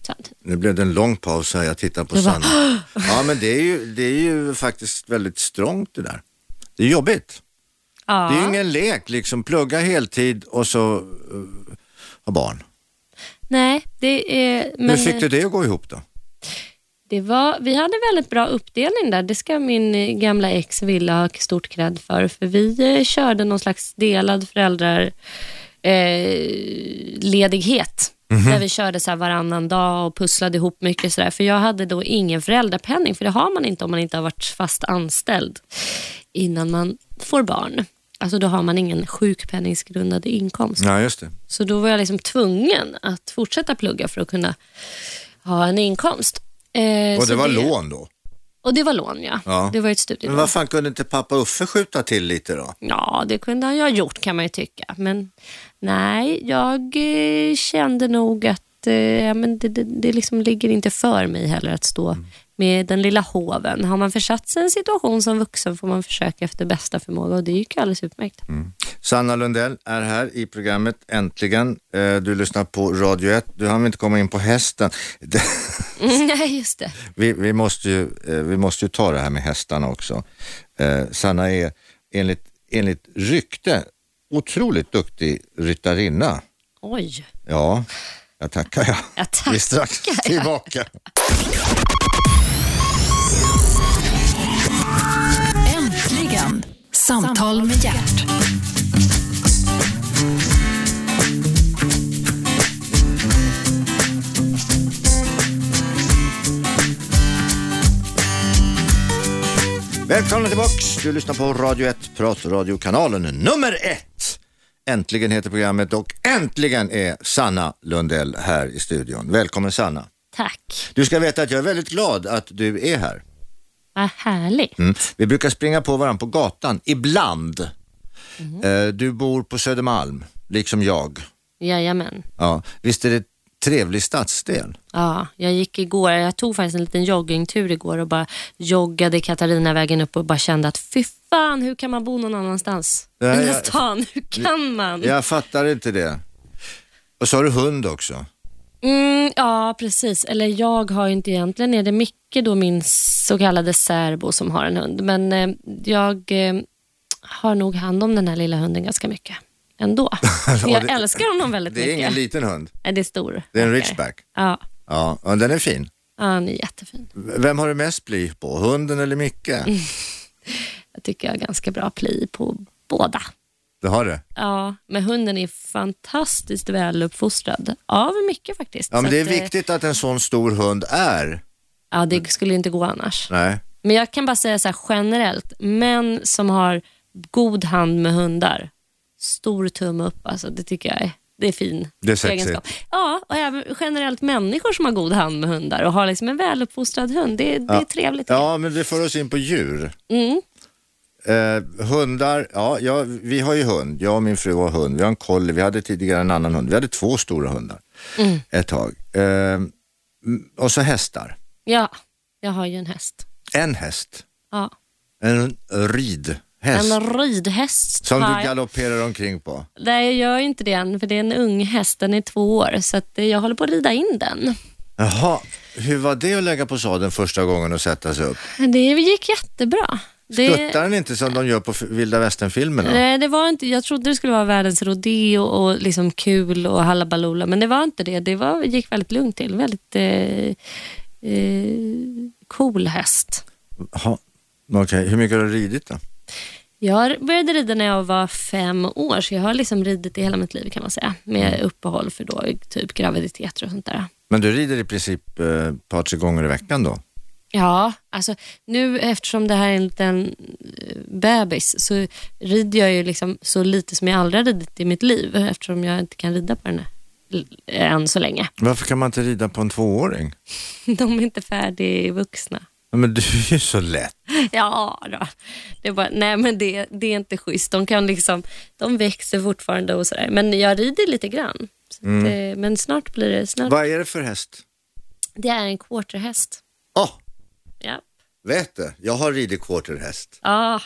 Speaker 3: Samtidigt.
Speaker 2: Nu blev det en lång paus här, jag tittar på
Speaker 3: Det var-
Speaker 2: Sanna. Ja men det är, ju, det är ju faktiskt väldigt strångt det där. Det är jobbigt.
Speaker 3: Ja.
Speaker 2: Det är ju ingen lek liksom, plugga heltid och så eh, ha barn.
Speaker 3: Nej, det är... Men, eh,
Speaker 2: Hur fick du det att gå ihop då?
Speaker 3: Det var, vi hade väldigt bra uppdelning där. Det ska min eh, gamla ex vilja ha stort cred för. För vi eh, körde någon slags delad föräldraledighet. Eh, ledighet. Där vi körde så här varannan dag och pusslade ihop mycket. Så där. För jag hade då ingen föräldrapenning. För det har man inte om man inte har varit fast anställd innan man får barn. Alltså då har man ingen sjukpenningsgrundande inkomst.
Speaker 2: Ja just det.
Speaker 3: Så då var jag liksom tvungen att fortsätta plugga för att kunna ha en inkomst. Eh,
Speaker 2: Och
Speaker 3: så
Speaker 2: det var lån då.
Speaker 3: Och det var lån ja.
Speaker 2: Ja.
Speaker 3: Det var ju ett
Speaker 2: Men
Speaker 3: studielån.
Speaker 2: vad fan kunde inte pappa Uffe skjuta till lite då?
Speaker 3: Ja, det kunde han ju ha gjort kan man ju tycka. Men nej, jag eh, kände nog att eh, ja, men det, det, det liksom ligger inte för mig heller att stå
Speaker 2: Mm.
Speaker 3: med den lilla hoven. Har man försatt sig i en situation som vuxen får man försöka efter bästa förmåga och det gick ju alldeles utmärkt.
Speaker 2: Mm. Sanna Lundell är här i programmet Äntligen. Eh, Du lyssnar på Radio 1. Du hann inte komma in på hästen.
Speaker 3: Nej, just det.
Speaker 2: Vi, vi, måste ju, eh, vi måste ju ta det här med hästarna också. Eh, Sanna är enligt, enligt rykte otroligt duktig ryttarinna.
Speaker 3: Oj.
Speaker 2: Ja, jag tackar jag.
Speaker 3: Jag tackar.
Speaker 2: Vi är strax tillbaka.
Speaker 1: Äntligen! Samtal med hjärt.
Speaker 2: Välkomna tillbaks. Du lyssnar på Radio 1, pratradiokanalen nummer ett. Äntligen heter programmet och äntligen är Sanna Lundell här i studion. Välkommen Sanna.
Speaker 3: Tack.
Speaker 2: Du ska veta att jag är väldigt glad att du är här.
Speaker 3: Vad härligt.
Speaker 2: Mm. Vi brukar springa på varandra på gatan, ibland.
Speaker 3: Mhm.
Speaker 2: Eh, Du bor på Södermalm, liksom jag.
Speaker 3: Jajamän.
Speaker 2: Ja. Visst är det trevlig stadsdel?
Speaker 3: Ja, jag gick igår, jag tog faktiskt en liten joggingtur igår och bara joggade Katarinavägen upp och bara kände att fy fan, hur kan man bo någon annanstans?
Speaker 2: Ja,
Speaker 3: I den här
Speaker 2: jag-
Speaker 3: stan, hur kan man? Ja,
Speaker 2: Jag fattar inte det. Och så har du hund också.
Speaker 3: mm, ja precis. Eller jag har ju inte egentligen, är det Micke då min så kallade särbo som har en hund. Men eh, jag eh, har nog hand om den här lilla hunden ganska mycket ändå. För jag
Speaker 2: det-
Speaker 3: älskar honom väldigt
Speaker 2: Det är ingen
Speaker 3: mycket.
Speaker 2: liten hund,
Speaker 3: Nej, det är stor.
Speaker 2: det är en
Speaker 3: rackare.
Speaker 2: ridgeback.
Speaker 3: Ja,
Speaker 2: Ja, och den är fin.
Speaker 3: ja, han är jättefin.
Speaker 2: V- Vem har du mest bly på, hunden eller Micke?
Speaker 3: Mm. Jag tycker jag har ganska bra pli på båda.
Speaker 2: Det har du.
Speaker 3: Ja, men hunden är fantastiskt väluppfostrad. Av mycket faktiskt.
Speaker 2: Ja, men
Speaker 3: Så
Speaker 2: det är
Speaker 3: att, eh,
Speaker 2: viktigt att en sån stor hund är.
Speaker 3: Ja, det skulle inte gå annars.
Speaker 2: Nej.
Speaker 3: Men jag kan bara säga så här generellt, män som har god hand med hundar, stor tumme upp alltså, det tycker jag är. Det är fin
Speaker 2: Det är sexigt.
Speaker 3: Ja, och även generellt människor som har god hand med hundar och har liksom en väluppfostrad hund. Det, det är trevligt.
Speaker 2: Ja, men det för oss in på djur.
Speaker 3: Mm.
Speaker 2: Eh, hundar, ja, ja, vi har ju hund. Jag och min fru har hund. Vi har en collie, vi hade tidigare en annan hund. Vi hade två stora hundar ett tag. Eh, mm, och så hästar.
Speaker 3: ja, jag har ju en häst.
Speaker 2: En häst,
Speaker 3: Ja.
Speaker 2: en ridhäst
Speaker 3: En ridhäst.
Speaker 2: som
Speaker 3: har
Speaker 2: du
Speaker 3: jag.
Speaker 2: galopperar omkring på.
Speaker 3: Nej, jag gör inte det än, för det är en ung häst. Den är två år, så att eh, jag håller på att rida in den.
Speaker 2: Jaha, hur var det att lägga på sadeln första gången och sätta sig upp?
Speaker 3: Det gick jättebra.
Speaker 2: Duttar den inte som de gör på f- vilda västern-filmerna?
Speaker 3: Nej, det var inte, jag trodde det skulle vara världens rodeo och liksom kul och hallabaloola, men det var inte det. Det var, gick väldigt lugnt till. Väldigt eh, eh, cool häst.
Speaker 2: Jaha, Okej, hur mycket har du ridit då?
Speaker 3: Jag började rida när jag var fem år, så jag har liksom ridit i hela mitt liv kan man säga, med uppehåll för då typ graviditeter och sånt där.
Speaker 2: Men du rider i princip eh, ett par, tre gånger i veckan då?
Speaker 3: Ja, alltså nu eftersom det här är en liten eh, bebis så rider jag ju liksom så lite som jag aldrig har ridit i mitt liv eftersom jag inte kan rida på den här l- eh, än så länge.
Speaker 2: Varför kan man inte rida på en tvååring?
Speaker 3: De är inte färdigvuxna.
Speaker 2: Ja, Men du är ju så lätt.
Speaker 3: Ja då. Det är bara, nej men det, det är inte schysst. De, kan liksom, de växer fortfarande och sådär. Men jag rider lite grann. Så att,
Speaker 2: Mm.
Speaker 3: eh, men snart blir det, snart.
Speaker 2: Vad är det för häst?
Speaker 3: Det är en quarterhäst.
Speaker 2: Åh,
Speaker 3: Ja.
Speaker 2: vet du? Jag har ridit quarterhäst.
Speaker 3: ja,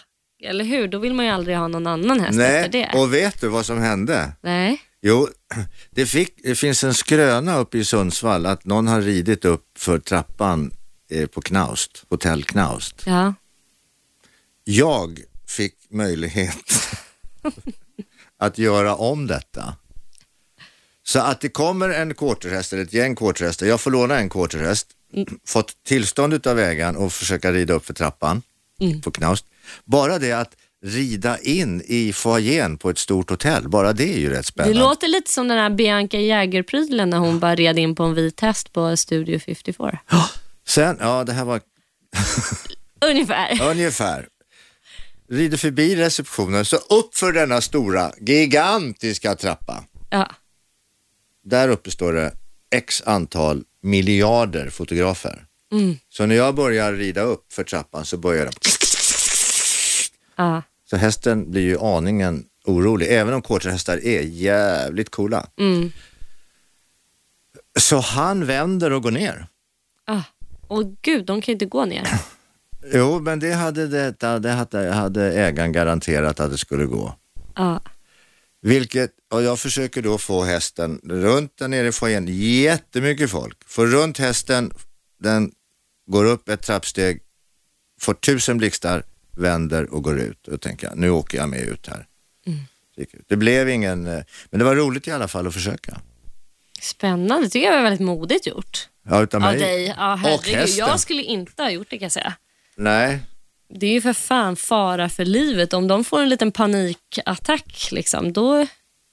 Speaker 3: eller hur? Då vill man ju aldrig ha någon annan häst efter
Speaker 2: Nej,
Speaker 3: det.
Speaker 2: och vet du vad som hände?
Speaker 3: Nej.
Speaker 2: Jo, det, fick, det finns en skröna uppe i Sundsvall att någon har ridit upp för trappan eh, på Knaust, hotell Knaust.
Speaker 3: Ja.
Speaker 2: Jag fick möjlighet att göra om detta. Så att det kommer en quarterhäst eller ett gäng quarterhästar, jag får låna en quarterhäst,
Speaker 3: Mm.
Speaker 2: fått tillstånd av ägaren och försöka rida upp för trappan
Speaker 3: Mm.
Speaker 2: på Knaust. Bara det att rida in i foajén på ett stort hotell, bara det är ju rätt
Speaker 3: Det
Speaker 2: spännande.
Speaker 3: låter lite som den här Bianca Jäger-prylen när hon bara red in på en vit häst på Studio 54.
Speaker 2: Sen, ja det här var
Speaker 3: Ungefär.
Speaker 2: Ungefär. Rider förbi receptionen, så upp för denna stora, gigantiska trappa.
Speaker 3: Ja.
Speaker 2: Där uppe står det x antal miljarder fotografer.
Speaker 3: Mm.
Speaker 2: Så när jag börjar rida upp för trappan så börjar den.
Speaker 3: ja.
Speaker 2: Så hästen blir ju aningen orolig, även om quarterhästar är jävligt coola.
Speaker 3: Mm.
Speaker 2: Så han vänder och går ner.
Speaker 3: Ah. Och gud, de kan ju inte gå ner.
Speaker 2: Jo, men det hade, detta, det hade, hade ägaren garanterat att det skulle gå.
Speaker 3: Ja.
Speaker 2: Vilket, och jag försöker då få hästen runt där nere i foajén, jättemycket folk. Får runt hästen, den går upp ett trappsteg, får tusen blixtar, vänder och går ut. Och tänker jag, nu åker jag med ut här.
Speaker 3: Mm.
Speaker 2: Så gick jag ut. Det blev ingen, eh, men det var roligt i alla fall att försöka.
Speaker 3: Spännande, tycker jag var väldigt modigt gjort.
Speaker 2: Ja, utav
Speaker 3: Av
Speaker 2: mig.
Speaker 3: dig. Ja,
Speaker 2: och
Speaker 3: herregud.
Speaker 2: hästen.
Speaker 3: Jag skulle inte ha gjort det kan jag säga.
Speaker 2: Nej,
Speaker 3: Det är ju för fan fara för livet. Om de får en liten panikattack, liksom, då,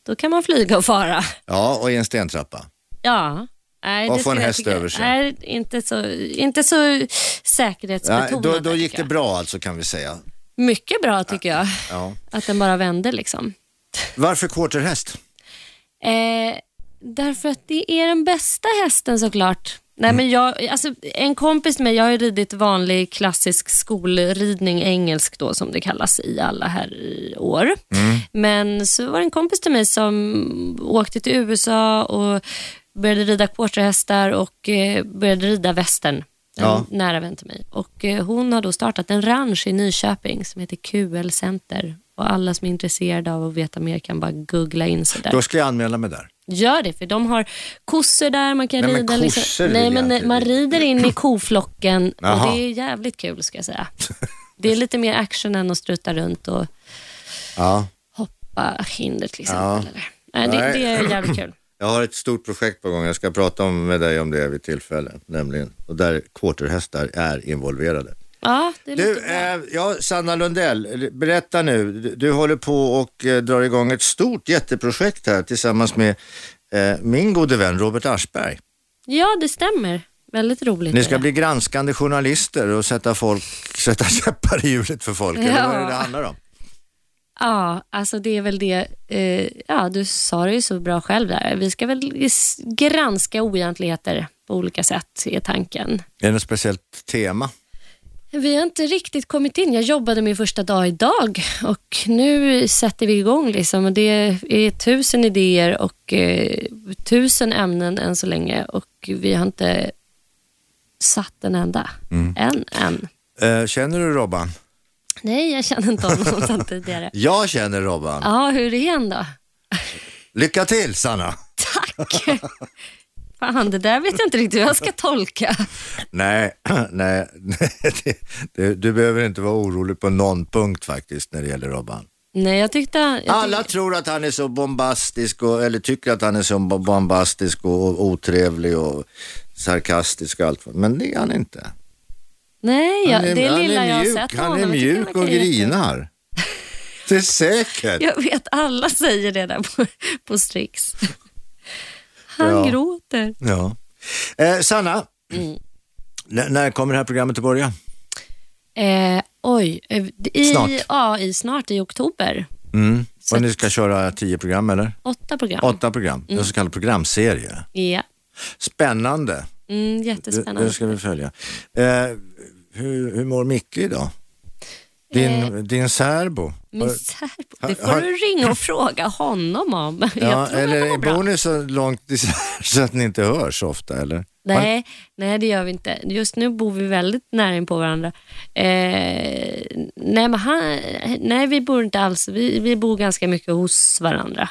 Speaker 3: då kan man flyga och fara.
Speaker 2: ja och i en stentrappa.
Speaker 3: Ja. Nej,
Speaker 2: Och
Speaker 3: det
Speaker 2: få en
Speaker 3: skulle jag
Speaker 2: häst
Speaker 3: tycka-
Speaker 2: över sig.
Speaker 3: Nej, inte så, inte så
Speaker 2: Ja,
Speaker 3: säkerhetsbetonat.
Speaker 2: då, då
Speaker 3: där,
Speaker 2: gick
Speaker 3: tycker
Speaker 2: det
Speaker 3: jag.
Speaker 2: bra alltså kan vi säga.
Speaker 3: Mycket bra tycker jag.
Speaker 2: Ja.
Speaker 3: Att den bara vände liksom.
Speaker 2: Varför quarterhäst?
Speaker 3: Eh, därför att det är den bästa hästen såklart. Nej, men jag, alltså, en kompis med jag har ju ridit vanlig klassisk skolridning, engelsk då som det kallas i alla här i år. Men så var det en kompis till mig som åkte till USA och började rida quarterhästar och eh, började rida västern. En
Speaker 2: Ja.
Speaker 3: nära vän till mig. Och eh, hon har då startat en ranch i Nyköping som heter QL Center. Och alla som är intresserade av att veta mer kan bara googla in sig där.
Speaker 2: Då ska jag anmäla mig där.
Speaker 3: Gör det, för de har kossor där, man kan
Speaker 2: Nej, men
Speaker 3: rida.
Speaker 2: kossor
Speaker 3: liksom.
Speaker 2: vill
Speaker 3: Nej,
Speaker 2: jag
Speaker 3: men
Speaker 2: inte
Speaker 3: man
Speaker 2: rida.
Speaker 3: rider in i koflocken
Speaker 2: Jaha.
Speaker 3: och det är jävligt kul ska jag säga. Det är lite mer action än att strutta runt och
Speaker 2: Ja.
Speaker 3: hoppa hinder till
Speaker 2: Ja.
Speaker 3: exempel. Eller. Nej, det,
Speaker 2: Nej.
Speaker 3: det är jävligt kul.
Speaker 2: Jag har ett stort projekt på gång, jag ska prata om, med dig om det vid tillfälle, nämligen, och där quarterhästar är involverade.
Speaker 3: Ja, det är
Speaker 2: Du,
Speaker 3: lite bra.
Speaker 2: eh, ja, Sanna Lundell, berätta nu, du, du håller på och eh, drar igång ett stort jätteprojekt här tillsammans med eh, min gode vän Robert Aschberg.
Speaker 3: Ja, det stämmer. Väldigt roligt.
Speaker 2: Ni
Speaker 3: är
Speaker 2: ska
Speaker 3: det.
Speaker 2: bli granskande journalister och sätta, folk, sätta käppar i hjulet för folk, eller vad är det det handlar om?
Speaker 3: Ja, alltså det är väl det. Eh, ja, du sa det ju så bra själv där. Vi ska väl s- granska oegentligheter på olika sätt, är tanken.
Speaker 2: Är det något speciellt tema?
Speaker 3: Vi har inte riktigt kommit in. Jag jobbade min första dag idag och nu sätter vi igång. Liksom. Och det är tusen idéer och eh, tusen ämnen än så länge och vi har inte satt en enda.
Speaker 2: Mm.
Speaker 3: Än, än.
Speaker 2: Eh, känner du Robban?
Speaker 3: Nej, jag känner inte honom sedan tidigare.
Speaker 2: Jag känner Robban.
Speaker 3: Ja, hur är han då?
Speaker 2: Lycka till Sanna!
Speaker 3: Tack! Fan, det där vet jag inte riktigt hur jag ska tolka.
Speaker 2: Nej, nej, nej du, du behöver inte vara orolig på någon punkt faktiskt när det gäller Robban.
Speaker 3: Nej, jag tyckte... Jag tyckte
Speaker 2: Alla tror att han är så bombastisk, och, eller tycker att han är så bo- bombastisk och otrevlig och sarkastisk och allt vad- Men det är han inte.
Speaker 3: nej, jag,
Speaker 2: han är,
Speaker 3: det
Speaker 2: han
Speaker 3: lilla jag
Speaker 2: är
Speaker 3: har
Speaker 2: mjuk,
Speaker 3: sett av
Speaker 2: han är
Speaker 3: honom, jag tycker han
Speaker 2: mjuk och
Speaker 3: verkar jätte-
Speaker 2: grinar. Det är säkert.
Speaker 3: Jag vet, alla säger det där på, på Strix. Han
Speaker 2: Ja.
Speaker 3: gråter.
Speaker 2: Ja. Eh, Sanna,
Speaker 3: Mm.
Speaker 2: n- när kommer det här programmet att börja?
Speaker 3: Eh, oj, eh, i,
Speaker 2: Snart.
Speaker 3: Ja, i, snart i oktober.
Speaker 2: Mm. Och ni ska köra tio program eller?
Speaker 3: Åtta program.
Speaker 2: Åtta program, en
Speaker 3: Mm.
Speaker 2: så kallad programserie.
Speaker 3: Ja.
Speaker 2: Spännande,
Speaker 3: Mm,
Speaker 2: det,
Speaker 3: jättespännande.
Speaker 2: det eh, ska vi följa. Eh, hur, hur mår Micke idag? Din, din särbo?
Speaker 3: Eh, Min särbo, det får
Speaker 2: har-
Speaker 3: du ringa och fråga honom om.
Speaker 2: Ja,
Speaker 3: jag tror att det
Speaker 2: eller
Speaker 3: går bra.
Speaker 2: bor ni så långt isär så att ni inte hörs ofta eller?
Speaker 3: Nej, nej, det gör vi inte. Just nu bor vi väldigt nära in på varandra. Eh, nej, men han, nej, vi bor inte alls. Vi, vi bor ganska mycket hos varandra.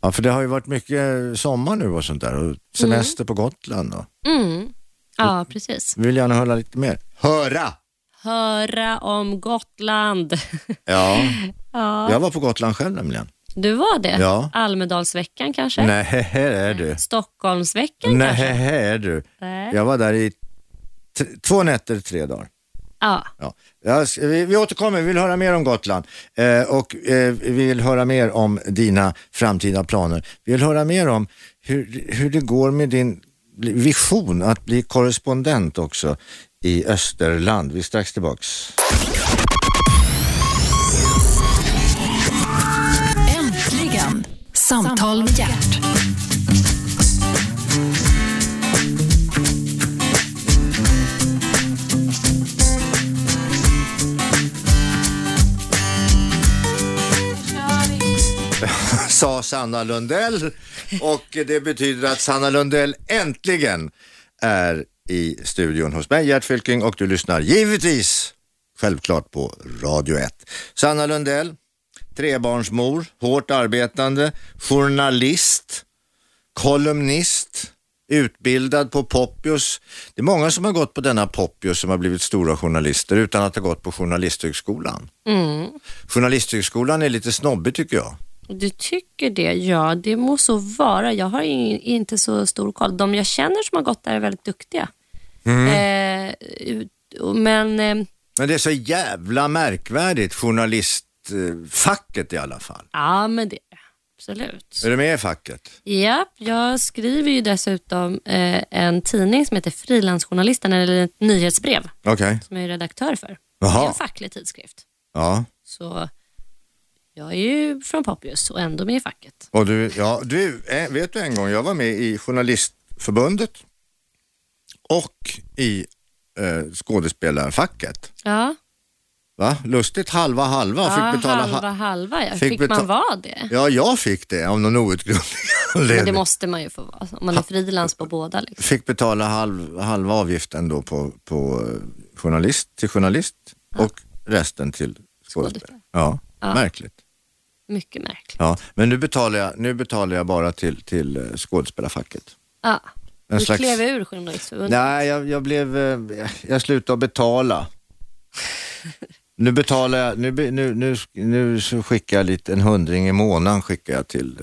Speaker 2: Ja, för det har ju varit mycket sommar nu och sånt där och semester på Gotland. Och.
Speaker 3: Mm. Ja, precis.
Speaker 2: Vi vill gärna höra lite mer. Höra!
Speaker 3: Höra om Gotland.
Speaker 2: Ja,
Speaker 3: ja,
Speaker 2: jag var på Gotland själv nämligen.
Speaker 3: du var det?
Speaker 2: Ja.
Speaker 3: Almedalsveckan kanske?
Speaker 2: Nej, här är du.
Speaker 3: Stockholmsveckan
Speaker 2: Nej,
Speaker 3: kanske?
Speaker 2: här är du.
Speaker 3: Nej.
Speaker 2: Jag var där i t- två nätter, tre dagar.
Speaker 3: Ja.
Speaker 2: Ja. Jag s- Vi, vi återkommer, vi vill höra mer om Gotland eh, och eh, vi vill höra mer om dina framtida planer. Vi vill höra mer om hur, hur det går med din vision att bli korrespondent också i Österland. Vi är strax tillbaks.
Speaker 1: Äntligen! Samtal med hjärt.
Speaker 2: Sa Sanna Lundell och det betyder att Sanna Lundell äntligen är i studion hos mig, Gert Fylking, och du lyssnar givetvis självklart på Radio 1. Sanna Lundell, trebarnsmor, hårt arbetande, journalist, kolumnist, utbildad på Poppius. Det är många som har gått på denna Poppius som har blivit stora journalister utan att ha gått på Journalisthögskolan. Journalisthögskolan är lite snobbig tycker jag.
Speaker 3: Du tycker det? Ja, det må så vara. Jag har ju inte så stor koll. De jag känner som har gått där är väldigt duktiga.
Speaker 2: Mm.
Speaker 3: Eh, ut- och- men eh,
Speaker 2: Men det är så jävla märkvärdigt, journalistfacket i alla fall.
Speaker 3: ja, men det absolut.
Speaker 2: Är du med i facket?
Speaker 3: Ja, jag skriver ju dessutom eh, en tidning som heter Frilansjournalisten, eller ett nyhetsbrev
Speaker 2: Okej.
Speaker 3: som jag är redaktör för.
Speaker 2: Jaha.
Speaker 3: Det är en facklig tidskrift.
Speaker 2: Ja.
Speaker 3: Så jag är ju från Poppius och ändå med i facket.
Speaker 2: Och du, ja, du, eh, vet du en gång, jag var med i Journalistförbundet och i eh, skådespelarfacket.
Speaker 3: Ja,
Speaker 2: Va? Lustigt, halva halva.
Speaker 3: ja
Speaker 2: fick betala ha-
Speaker 3: halva halva. Ja.
Speaker 2: fick
Speaker 3: Fick,
Speaker 2: beta-
Speaker 3: man vara det?
Speaker 2: Ja, jag fick det av någon outgrundlig
Speaker 3: Men det
Speaker 2: anledning.
Speaker 3: måste man ju få vara, alltså, om man är frilans på båda. Liksom.
Speaker 2: Fick betala halv, halva avgiften då på, på eh, journalist, till journalist och resten till skådespelare.
Speaker 3: Skådespelare.
Speaker 2: Ja,
Speaker 3: Ja.
Speaker 2: märkligt.
Speaker 3: Mycket märkligt.
Speaker 2: Ja, men nu betalar jag, nu betalar jag bara till, till eh, skådespelarfacket.
Speaker 3: Ja.
Speaker 2: En
Speaker 3: Du
Speaker 2: slags-
Speaker 3: klev ur Journalistförbundet.
Speaker 2: Nej, jag, jag blev, eh, jag slutade att betala. Nu betalar jag, nu, be- nu, nu, nu så skickar jag lite, en hundring i månaden skickar jag till,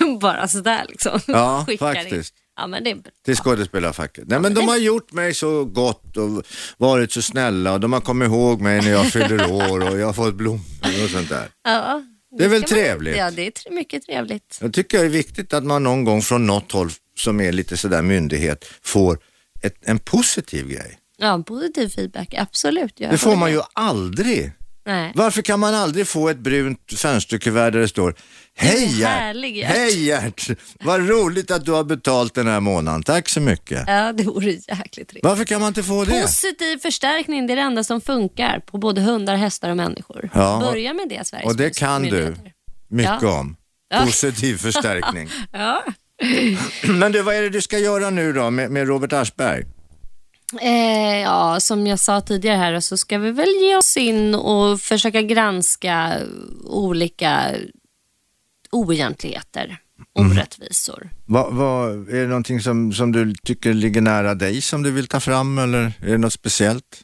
Speaker 2: eh,
Speaker 3: Bara sådär liksom.
Speaker 2: Ja,
Speaker 3: Skickar in.
Speaker 2: faktiskt.
Speaker 3: Ja, men det är bra.
Speaker 2: till skådespelarfacket. Nej men de har gjort mig så gott och varit så snälla och de har kommit ihåg mig när jag fyller år och jag har fått blommor och sånt där.
Speaker 3: Ja,
Speaker 2: Det är väl
Speaker 3: ska man-
Speaker 2: trevligt?
Speaker 3: Ja, det är tre- mycket trevligt.
Speaker 2: Jag tycker det är viktigt att man någon gång från något håll som är lite sådär myndighet får ett, en positiv grej.
Speaker 3: Ja, en positiv feedback, absolut. Jag
Speaker 2: Det får
Speaker 3: håller
Speaker 2: man
Speaker 3: med.
Speaker 2: ju aldrig.
Speaker 3: Nej.
Speaker 2: Varför kan man aldrig få ett brunt fönsterkuvert där det står Hej Gert!
Speaker 3: härlig, Gert."
Speaker 2: Hej Gert! Vad roligt att du har betalt den här månaden, tack så mycket.
Speaker 3: Ja, det vore jäkligt trevligt.
Speaker 2: Varför kan man inte få det?
Speaker 3: Positiv förstärkning, det är det enda som funkar på både hundar, hästar och människor.
Speaker 2: Ja, och-
Speaker 3: Börja med det, Sveriges
Speaker 2: Och det kan du
Speaker 3: myndigheter.
Speaker 2: mycket
Speaker 3: Ja.
Speaker 2: om. Positiv förstärkning.
Speaker 3: Ja.
Speaker 2: Men du, vad är det du ska göra nu då med, med Robert Aschberg?
Speaker 3: Eh, ja, som jag sa tidigare här så ska vi väl ge oss in och försöka granska olika oegentligheter
Speaker 2: Mm.
Speaker 3: orättvisor.
Speaker 2: Va, va, är det någonting som, som du tycker ligger nära dig som du vill ta fram eller är det något speciellt?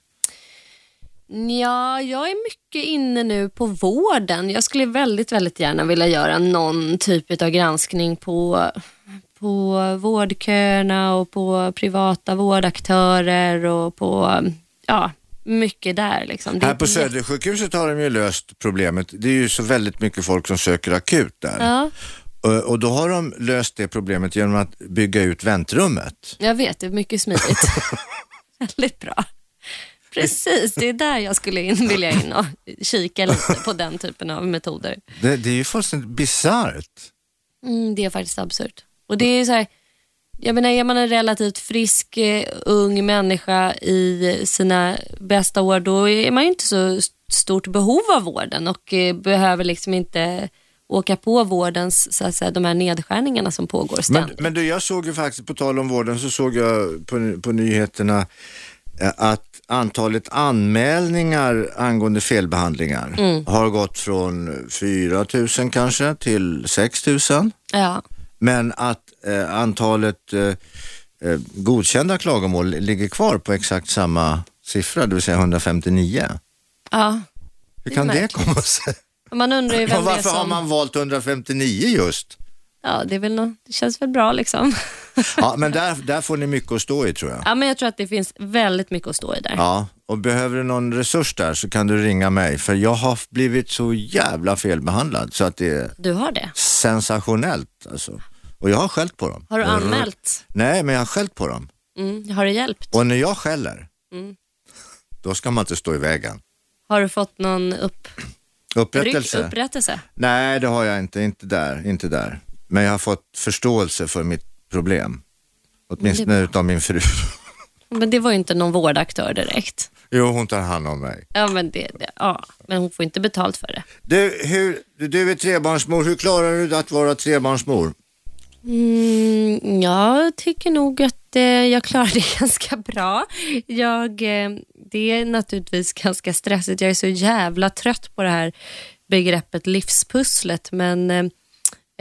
Speaker 3: Ja, jag är mycket inne nu på vården. Jag skulle väldigt, väldigt gärna vilja göra någon typ av granskning på, på vårdköerna och på privata vårdaktörer och på, ja, mycket där liksom. Det är
Speaker 2: Här på
Speaker 3: ett jätte-
Speaker 2: Södersjukhuset har de ju löst problemet. Det är ju så väldigt mycket folk som söker akut där.
Speaker 3: Ja,
Speaker 2: Och- Och då har de löst det problemet genom att bygga ut väntrummet.
Speaker 3: jag vet. Det är mycket smidigt. väldigt bra. Precis, det är där jag skulle in, vilja in och kika lite på den typen av metoder.
Speaker 2: Det, det är ju fullständigt bisarrt.
Speaker 3: Mm, det är faktiskt absurt. Och det är ju så här, jag menar är man en relativt frisk, eh, ung människa i sina bästa år, då är man ju inte så st- stort behov av vården och eh, behöver liksom inte åka på vårdens, så att säga, de här nedskärningarna som pågår
Speaker 2: Men,
Speaker 3: ständigt.
Speaker 2: men du, jag såg ju faktiskt, på tal om vården, så såg jag på, på nyheterna eh, att antalet anmälningar angående felbehandlingar
Speaker 3: Mm.
Speaker 2: har gått från 4 000 kanske till 6 000.
Speaker 3: Ja,
Speaker 2: Men att eh, antalet eh, eh, godkända klagomål ligger kvar på exakt samma siffra, det vill säga 159.
Speaker 3: ja.
Speaker 2: Hur
Speaker 3: Det är
Speaker 2: kan det
Speaker 3: märkligt.
Speaker 2: komma sig?
Speaker 3: Och Man undrar ju
Speaker 2: Och
Speaker 3: vem det är
Speaker 2: varför har
Speaker 3: som...
Speaker 2: man valt 159 just?
Speaker 3: Ja, det, är väl nå- det känns väl bra liksom.
Speaker 2: Ja, men där, där får ni mycket att stå i tror jag.
Speaker 3: ja, men jag tror att det finns väldigt mycket att stå i där.
Speaker 2: Ja, och behöver du någon resurs där så kan du ringa mig för jag har blivit så jävla felbehandlad så att det är
Speaker 3: Du har det.
Speaker 2: sensationellt alltså. Och jag har skällt på dem.
Speaker 3: Har du anmält?
Speaker 2: Nej, men jag har skällt på dem.
Speaker 3: Mm. Har det hjälpt?
Speaker 2: Och när jag skäller,
Speaker 3: Mm.
Speaker 2: då ska man inte stå i vägen.
Speaker 3: Har du fått någon upp...
Speaker 2: Upprättelse?
Speaker 3: Ryck, upprättelse.
Speaker 2: Nej, det har jag inte. Inte där, inte där. Men jag har fått förståelse för mitt problem. Åtminstone utav min fru.
Speaker 3: Men det var ju inte någon vårdaktör direkt.
Speaker 2: jo, hon tar hand om mig.
Speaker 3: Ja, men, det, det, ja, men hon får inte betalt för det.
Speaker 2: Du, hur, du är trebarnsmor. Hur klarar du att vara trebarnsmor?
Speaker 3: Mm, jag tycker nog att eh, jag klarar det ganska bra. Jag, eh, det är naturligtvis ganska stressigt. Jag är så jävla trött på det här begreppet livspusslet, men eh,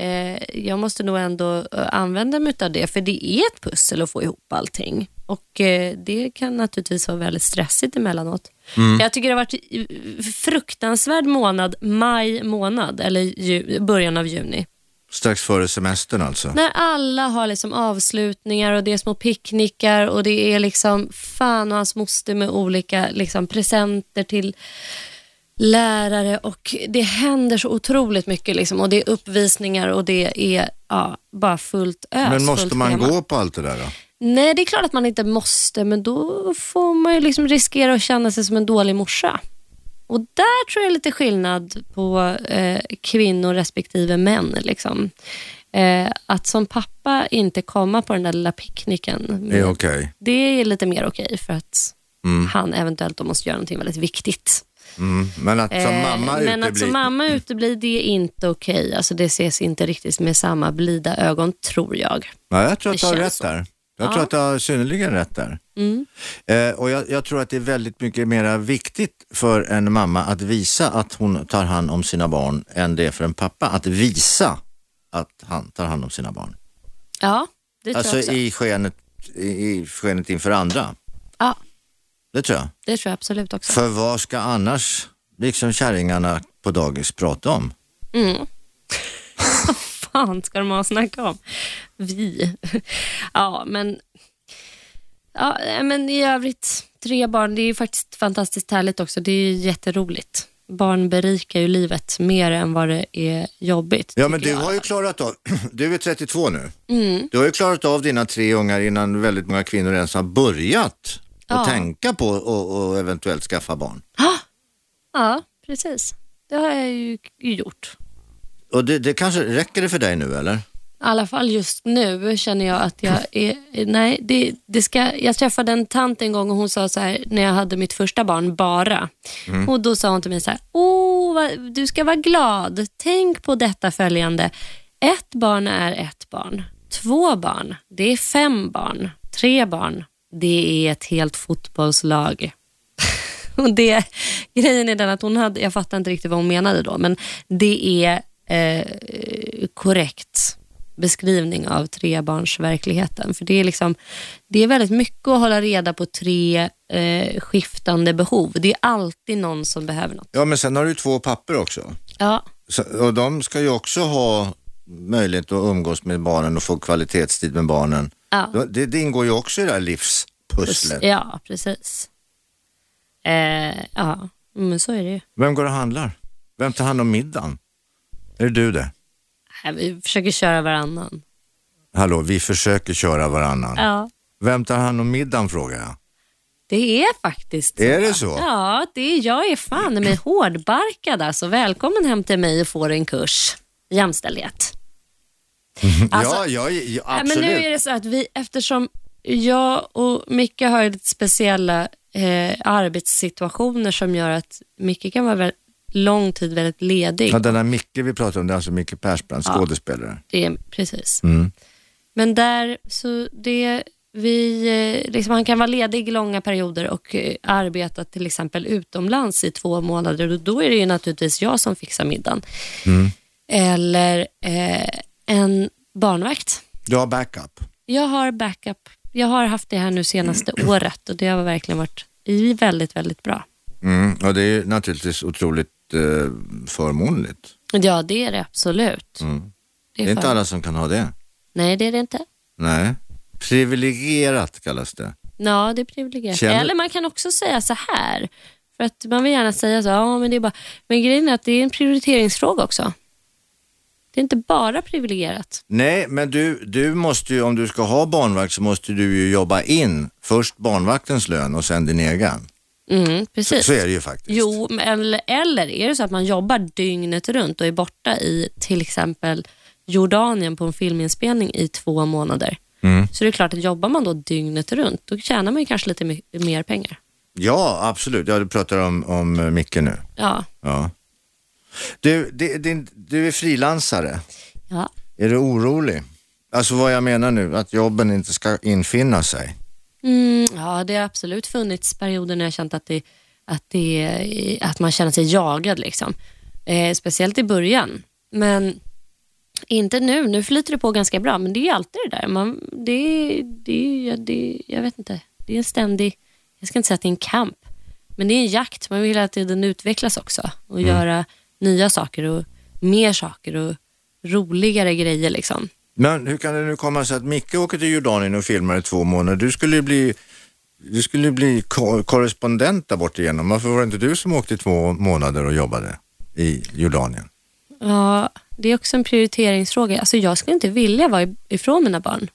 Speaker 3: eh, jag måste nog ändå eh, använda mig av det, för det är ett pussel att få ihop allting. Och eh, Det kan naturligtvis vara väldigt stressigt emellanåt. Jag tycker det har varit eh, fruktansvärd månad, maj månad, eller ju, början av juni.
Speaker 2: Strax före semestern alltså.
Speaker 3: När alla har liksom avslutningar och det är små picknickar och det är liksom fan och hans moster med olika liksom presenter till lärare och det händer så otroligt mycket liksom och det är uppvisningar och det är ja, bara fullt ös.
Speaker 2: Men måste
Speaker 3: fullt
Speaker 2: man
Speaker 3: schema.
Speaker 2: gå på allt det där då?
Speaker 3: Nej, det är klart att man inte måste, men då får man ju liksom riskera att känna sig som en dålig morsa. Och där tror jag är lite skillnad på eh, kvinnor respektive män. Liksom. Eh, att som pappa inte komma på den där lilla picknicken,
Speaker 2: Det är okej.
Speaker 3: det är lite mer okej för att han eventuellt då måste göra någonting väldigt viktigt.
Speaker 2: Mm. Men att som
Speaker 3: Eh,
Speaker 2: mamma
Speaker 3: men att
Speaker 2: uteblir.
Speaker 3: som mamma uteblir, det är inte okej. Alltså, det ses inte riktigt med samma blida ögon, tror jag.
Speaker 2: Ja, jag tror att du
Speaker 3: Det
Speaker 2: har
Speaker 3: känns
Speaker 2: rätt
Speaker 3: så.
Speaker 2: där. Jag
Speaker 3: Ja. Mm.
Speaker 2: tror att du har synnerligen rätt där. Eh, och jag, jag tror att det är väldigt mycket mer viktigt för en mamma att visa att hon tar hand om sina barn än det är för en pappa att visa att han tar hand om sina barn.
Speaker 3: Ja, det tror
Speaker 2: Alltså
Speaker 3: jag också.
Speaker 2: i skenet, i, i skenet inför andra.
Speaker 3: Ja.
Speaker 2: Det tror jag.
Speaker 3: Det tror jag absolut också.
Speaker 2: För vad ska annars, liksom kärringarna på dagis, prata om?
Speaker 3: Mm. Vad fan ska de ha att snacka om? Vi. ja, men, ja, nej, men i övrigt, tre barn, det är ju faktiskt fantastiskt härligt också. Det är ju jätteroligt. Barn berikar ju livet mer än vad det är jobbigt.
Speaker 2: Ja, men
Speaker 3: tycker
Speaker 2: du
Speaker 3: jag.
Speaker 2: har ju klarat av, du är 32 nu.
Speaker 3: Mm.
Speaker 2: Du har ju klarat av dina tre ungar innan väldigt många kvinnor ens har börjat
Speaker 3: Ja.
Speaker 2: att tänka på och, och eventuellt skaffa barn.
Speaker 3: Ja, precis. Det har jag ju gjort.
Speaker 2: Och det, det kanske, räcker det för dig nu eller?
Speaker 3: I alla fall just nu känner jag att jag är... Nej, det, det ska, jag träffade en tant en gång och hon sa så här, när jag hade mitt första barn, bara. Och Då sa hon till mig så här, Åh, vad, du ska vara glad. Tänk på detta följande. Ett barn är ett barn. Två barn, det är fem barn. Tre barn, det är ett helt fotbollslag. Och det, grejen är den att hon hade, jag fattar inte riktigt vad hon menade då, men det är eh, korrekt beskrivning av trebarnsverkligheten. För det är, liksom, det är väldigt mycket att hålla reda på tre eh, skiftande behov. Det är alltid någon som behöver något.
Speaker 2: Ja, men sen har du ju två papper också.
Speaker 3: Ja,
Speaker 2: Så, och de ska ju också ha möjlighet att umgås med barnen och få kvalitetstid med barnen.
Speaker 3: ja,
Speaker 2: Det, det ingår ju också i det här livspusslet.
Speaker 3: ja precis. Eh, ja, men så är det ju.
Speaker 2: Vem går och handlar? Vem tar hand om middagen? Är det du det?
Speaker 3: Nej, Vi försöker köra varannan.
Speaker 2: Hallå, vi försöker köra varannan.
Speaker 3: Ja.
Speaker 2: Vem tar hand om middagen frågar jag.
Speaker 3: Det är faktiskt så.
Speaker 2: Är det så?
Speaker 3: Ja, det är, jag är fan med hårdbarkad alltså. Välkommen hem till mig och få en kurs i jämställdhet. Alltså-
Speaker 2: ja, ja, ja,
Speaker 3: Nej,
Speaker 2: absolut.
Speaker 3: Men nu är det så att vi, eftersom jag och Micke har ju lite speciella eh, arbetssituationer som gör att Micke kan vara väldigt, lång tid väldigt ledig.
Speaker 2: ja, den där Micke vi pratar om, det är alltså Micke Persbrandt, skådespelare.
Speaker 3: Det är, precis.
Speaker 2: Mm.
Speaker 3: Men där, så det, vi, eh, liksom, han kan vara ledig långa perioder och eh, arbeta till exempel utomlands i två månader och då är det ju naturligtvis jag som fixar middagen.
Speaker 2: Mm.
Speaker 3: Eller eh, en barnvakt.
Speaker 2: Du har backup.
Speaker 3: Jag har backup. Jag har haft det här nu senaste året och det har verkligen varit i väldigt, väldigt bra.
Speaker 2: Mm, och det är ju naturligtvis otroligt eh, förmånligt.
Speaker 3: Ja, det är det absolut.
Speaker 2: Mm.
Speaker 3: Det
Speaker 2: Det
Speaker 3: är
Speaker 2: är inte
Speaker 3: fan-
Speaker 2: alla som kan ha det.
Speaker 3: Nej, det är det inte.
Speaker 2: Nej. Privilegierat kallas det.
Speaker 3: Ja, det är privilegierat.
Speaker 2: Känner-
Speaker 3: Eller man kan också säga så här, för att man vill gärna säga så, ja men det är bara, men grejen är att det är en prioriteringsfråga också. Det är inte bara privilegierat.
Speaker 2: Nej, men du, du måste ju, om du ska ha barnvakt så måste du ju jobba in först barnvaktens lön och sen din egen.
Speaker 3: Mm, precis.
Speaker 2: Så är det ju faktiskt.
Speaker 3: Jo, men- eller, eller är det så att man jobbar dygnet runt och är borta i till exempel Jordanien på en filminspelning i två månader.
Speaker 2: Mm.
Speaker 3: Så det är klart att jobbar man då dygnet runt, då tjänar man ju kanske lite my- mer pengar.
Speaker 2: Ja, absolut. Ja, du pratar om, om eh, Micke nu.
Speaker 3: Ja.
Speaker 2: Ja. Du, det, din, du är frilansare.
Speaker 3: ja.
Speaker 2: Är du orolig? Alltså vad jag menar nu, att jobben inte ska infinna sig.
Speaker 3: Mm, ja, det har absolut funnits perioder när jag känt att, det, att, det, att man känner sig jagad. Liksom. Eh, speciellt i början. Men inte nu. Nu flyter det på ganska bra. Men det är alltid det där. Man, det, det, ja, det, jag vet inte. Det är en ständig... Jag ska inte säga att det är en kamp. Men det är en jakt. Man vill hela tiden utvecklas också. Och göra nya saker och mer saker och roligare grejer. Liksom.
Speaker 2: Men hur kan det nu komma sig att Micke åker till Jordanien och filmar i två månader? Du skulle ju bli, du skulle ju bli ko- korrespondent där bort igenom. Varför var det inte du som åkte i två månader och jobbade i Jordanien?
Speaker 3: Ja, det är också en prioriteringsfråga. Alltså jag skulle inte vilja vara i- ifrån mina barn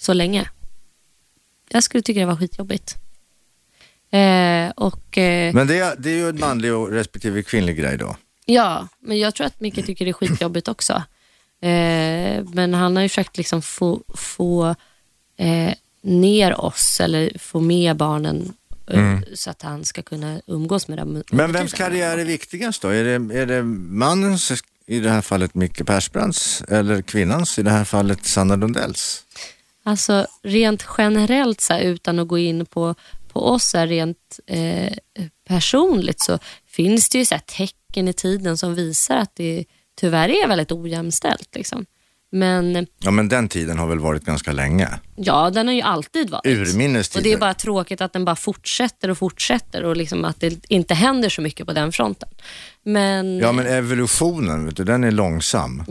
Speaker 3: så länge. Jag skulle tycka det var skitjobbigt. Eh, och, eh,
Speaker 2: Men det, är- det är ju en manlig och respektive kvinnlig grej då.
Speaker 3: ja, men jag tror att Micke tycker det är skitjobbigt också. Eh, men han har ju försökt liksom få, få eh, ner oss eller få med barnen eh, så att han ska kunna umgås med dem. under
Speaker 2: Mm. Men vems
Speaker 3: tiden.
Speaker 2: karriär är viktigast då? Är det, är det mannens, i det här fallet Micke Persbrandts, eller kvinnans, i det här fallet Sanna Lundells?
Speaker 3: Alltså rent generellt så här, utan att gå in på, på oss här, rent eh, personligt så finns det ju så här, tecken i tiden som visar att det tyvärr är väldigt ojämställt. Liksom. Men
Speaker 2: Ja, men den tiden har väl varit ganska länge.
Speaker 3: ja, den har ju alltid varit.
Speaker 2: Urminnes
Speaker 3: och det är
Speaker 2: tider.
Speaker 3: bara tråkigt att den bara fortsätter och fortsätter och liksom att det inte händer så mycket på den fronten. Men
Speaker 2: Ja,
Speaker 3: ja,
Speaker 2: men evolutionen, vet du, den är långsam.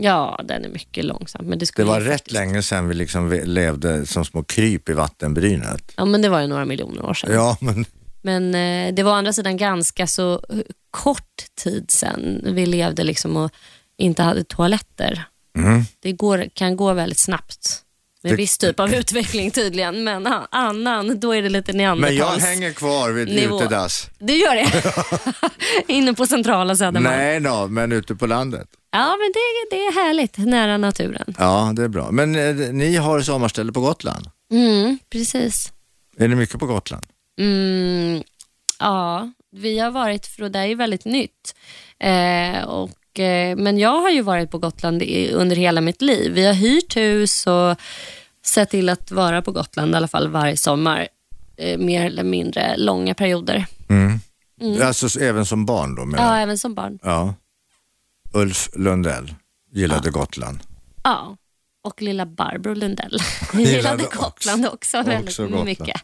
Speaker 3: den är mycket långsam. Men det,
Speaker 2: Det
Speaker 3: skulle
Speaker 2: var
Speaker 3: ju-
Speaker 2: rätt länge sedan vi liksom ve- levde som små kryp i vattenbrynet.
Speaker 3: Ja, men det var ju några miljoner år sedan.
Speaker 2: Ja, men
Speaker 3: Men eh, det var å andra sidan ganska så eh, kort tid sedan vi levde liksom och inte hade toaletter.
Speaker 2: mm.
Speaker 3: Det går, kan gå väldigt snabbt med
Speaker 2: Det-
Speaker 3: viss typ av utveckling tydligen, men a- annan, då är det lite
Speaker 2: Men jag
Speaker 3: neandertals.
Speaker 2: hänger kvar vid
Speaker 3: Nivå.
Speaker 2: utedass.
Speaker 3: Du gör det? Inne på centrala Södermalm?
Speaker 2: Nej, no, men ute på landet.
Speaker 3: Ja, men det, det är härligt, nära naturen.
Speaker 2: Ja, det är bra. Men eh, ni har sommarställe på Gotland.
Speaker 3: Mm, precis.
Speaker 2: Är det mycket på Gotland?
Speaker 3: Mm, ja, vi har varit, för det är ju väldigt nytt. Eh, och, eh, men jag har ju varit på Gotland i, under hela mitt liv. Vi har hyrt hus och sett till att vara på Gotland i alla fall varje sommar. Eh, mer eller mindre långa perioder.
Speaker 2: Mm. Alltså s- även som barn då? Med,
Speaker 3: Ja,
Speaker 2: ja.
Speaker 3: även som barn.
Speaker 2: Ulf Lundell gillade Gotland.
Speaker 3: Ja, och lilla Barbro Lundell.
Speaker 2: Gillade
Speaker 3: gillade
Speaker 2: också.
Speaker 3: Gotland också,
Speaker 2: Också
Speaker 3: väldigt
Speaker 2: Gotland.
Speaker 3: mycket.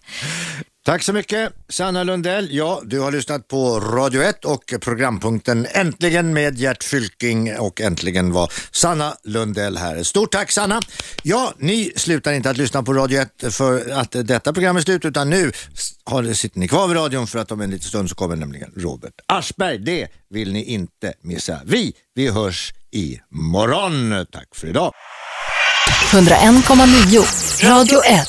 Speaker 2: Tack så mycket Sanna Lundell. Ja, du har lyssnat på Radio 1 och programpunkten Äntligen med Gert Fylking och äntligen var Sanna Lundell här. Stort tack Sanna. Ja, ni slutar inte att lyssna på Radio 1 för att detta program är slut utan nu har, sitter ni kvar vid radion för att om en liten stund så kommer nämligen Robert Aschberg. Det vill ni inte missa. Vi, vi hörs imorgon. Tack för idag.
Speaker 1: 101,9 Radio 1.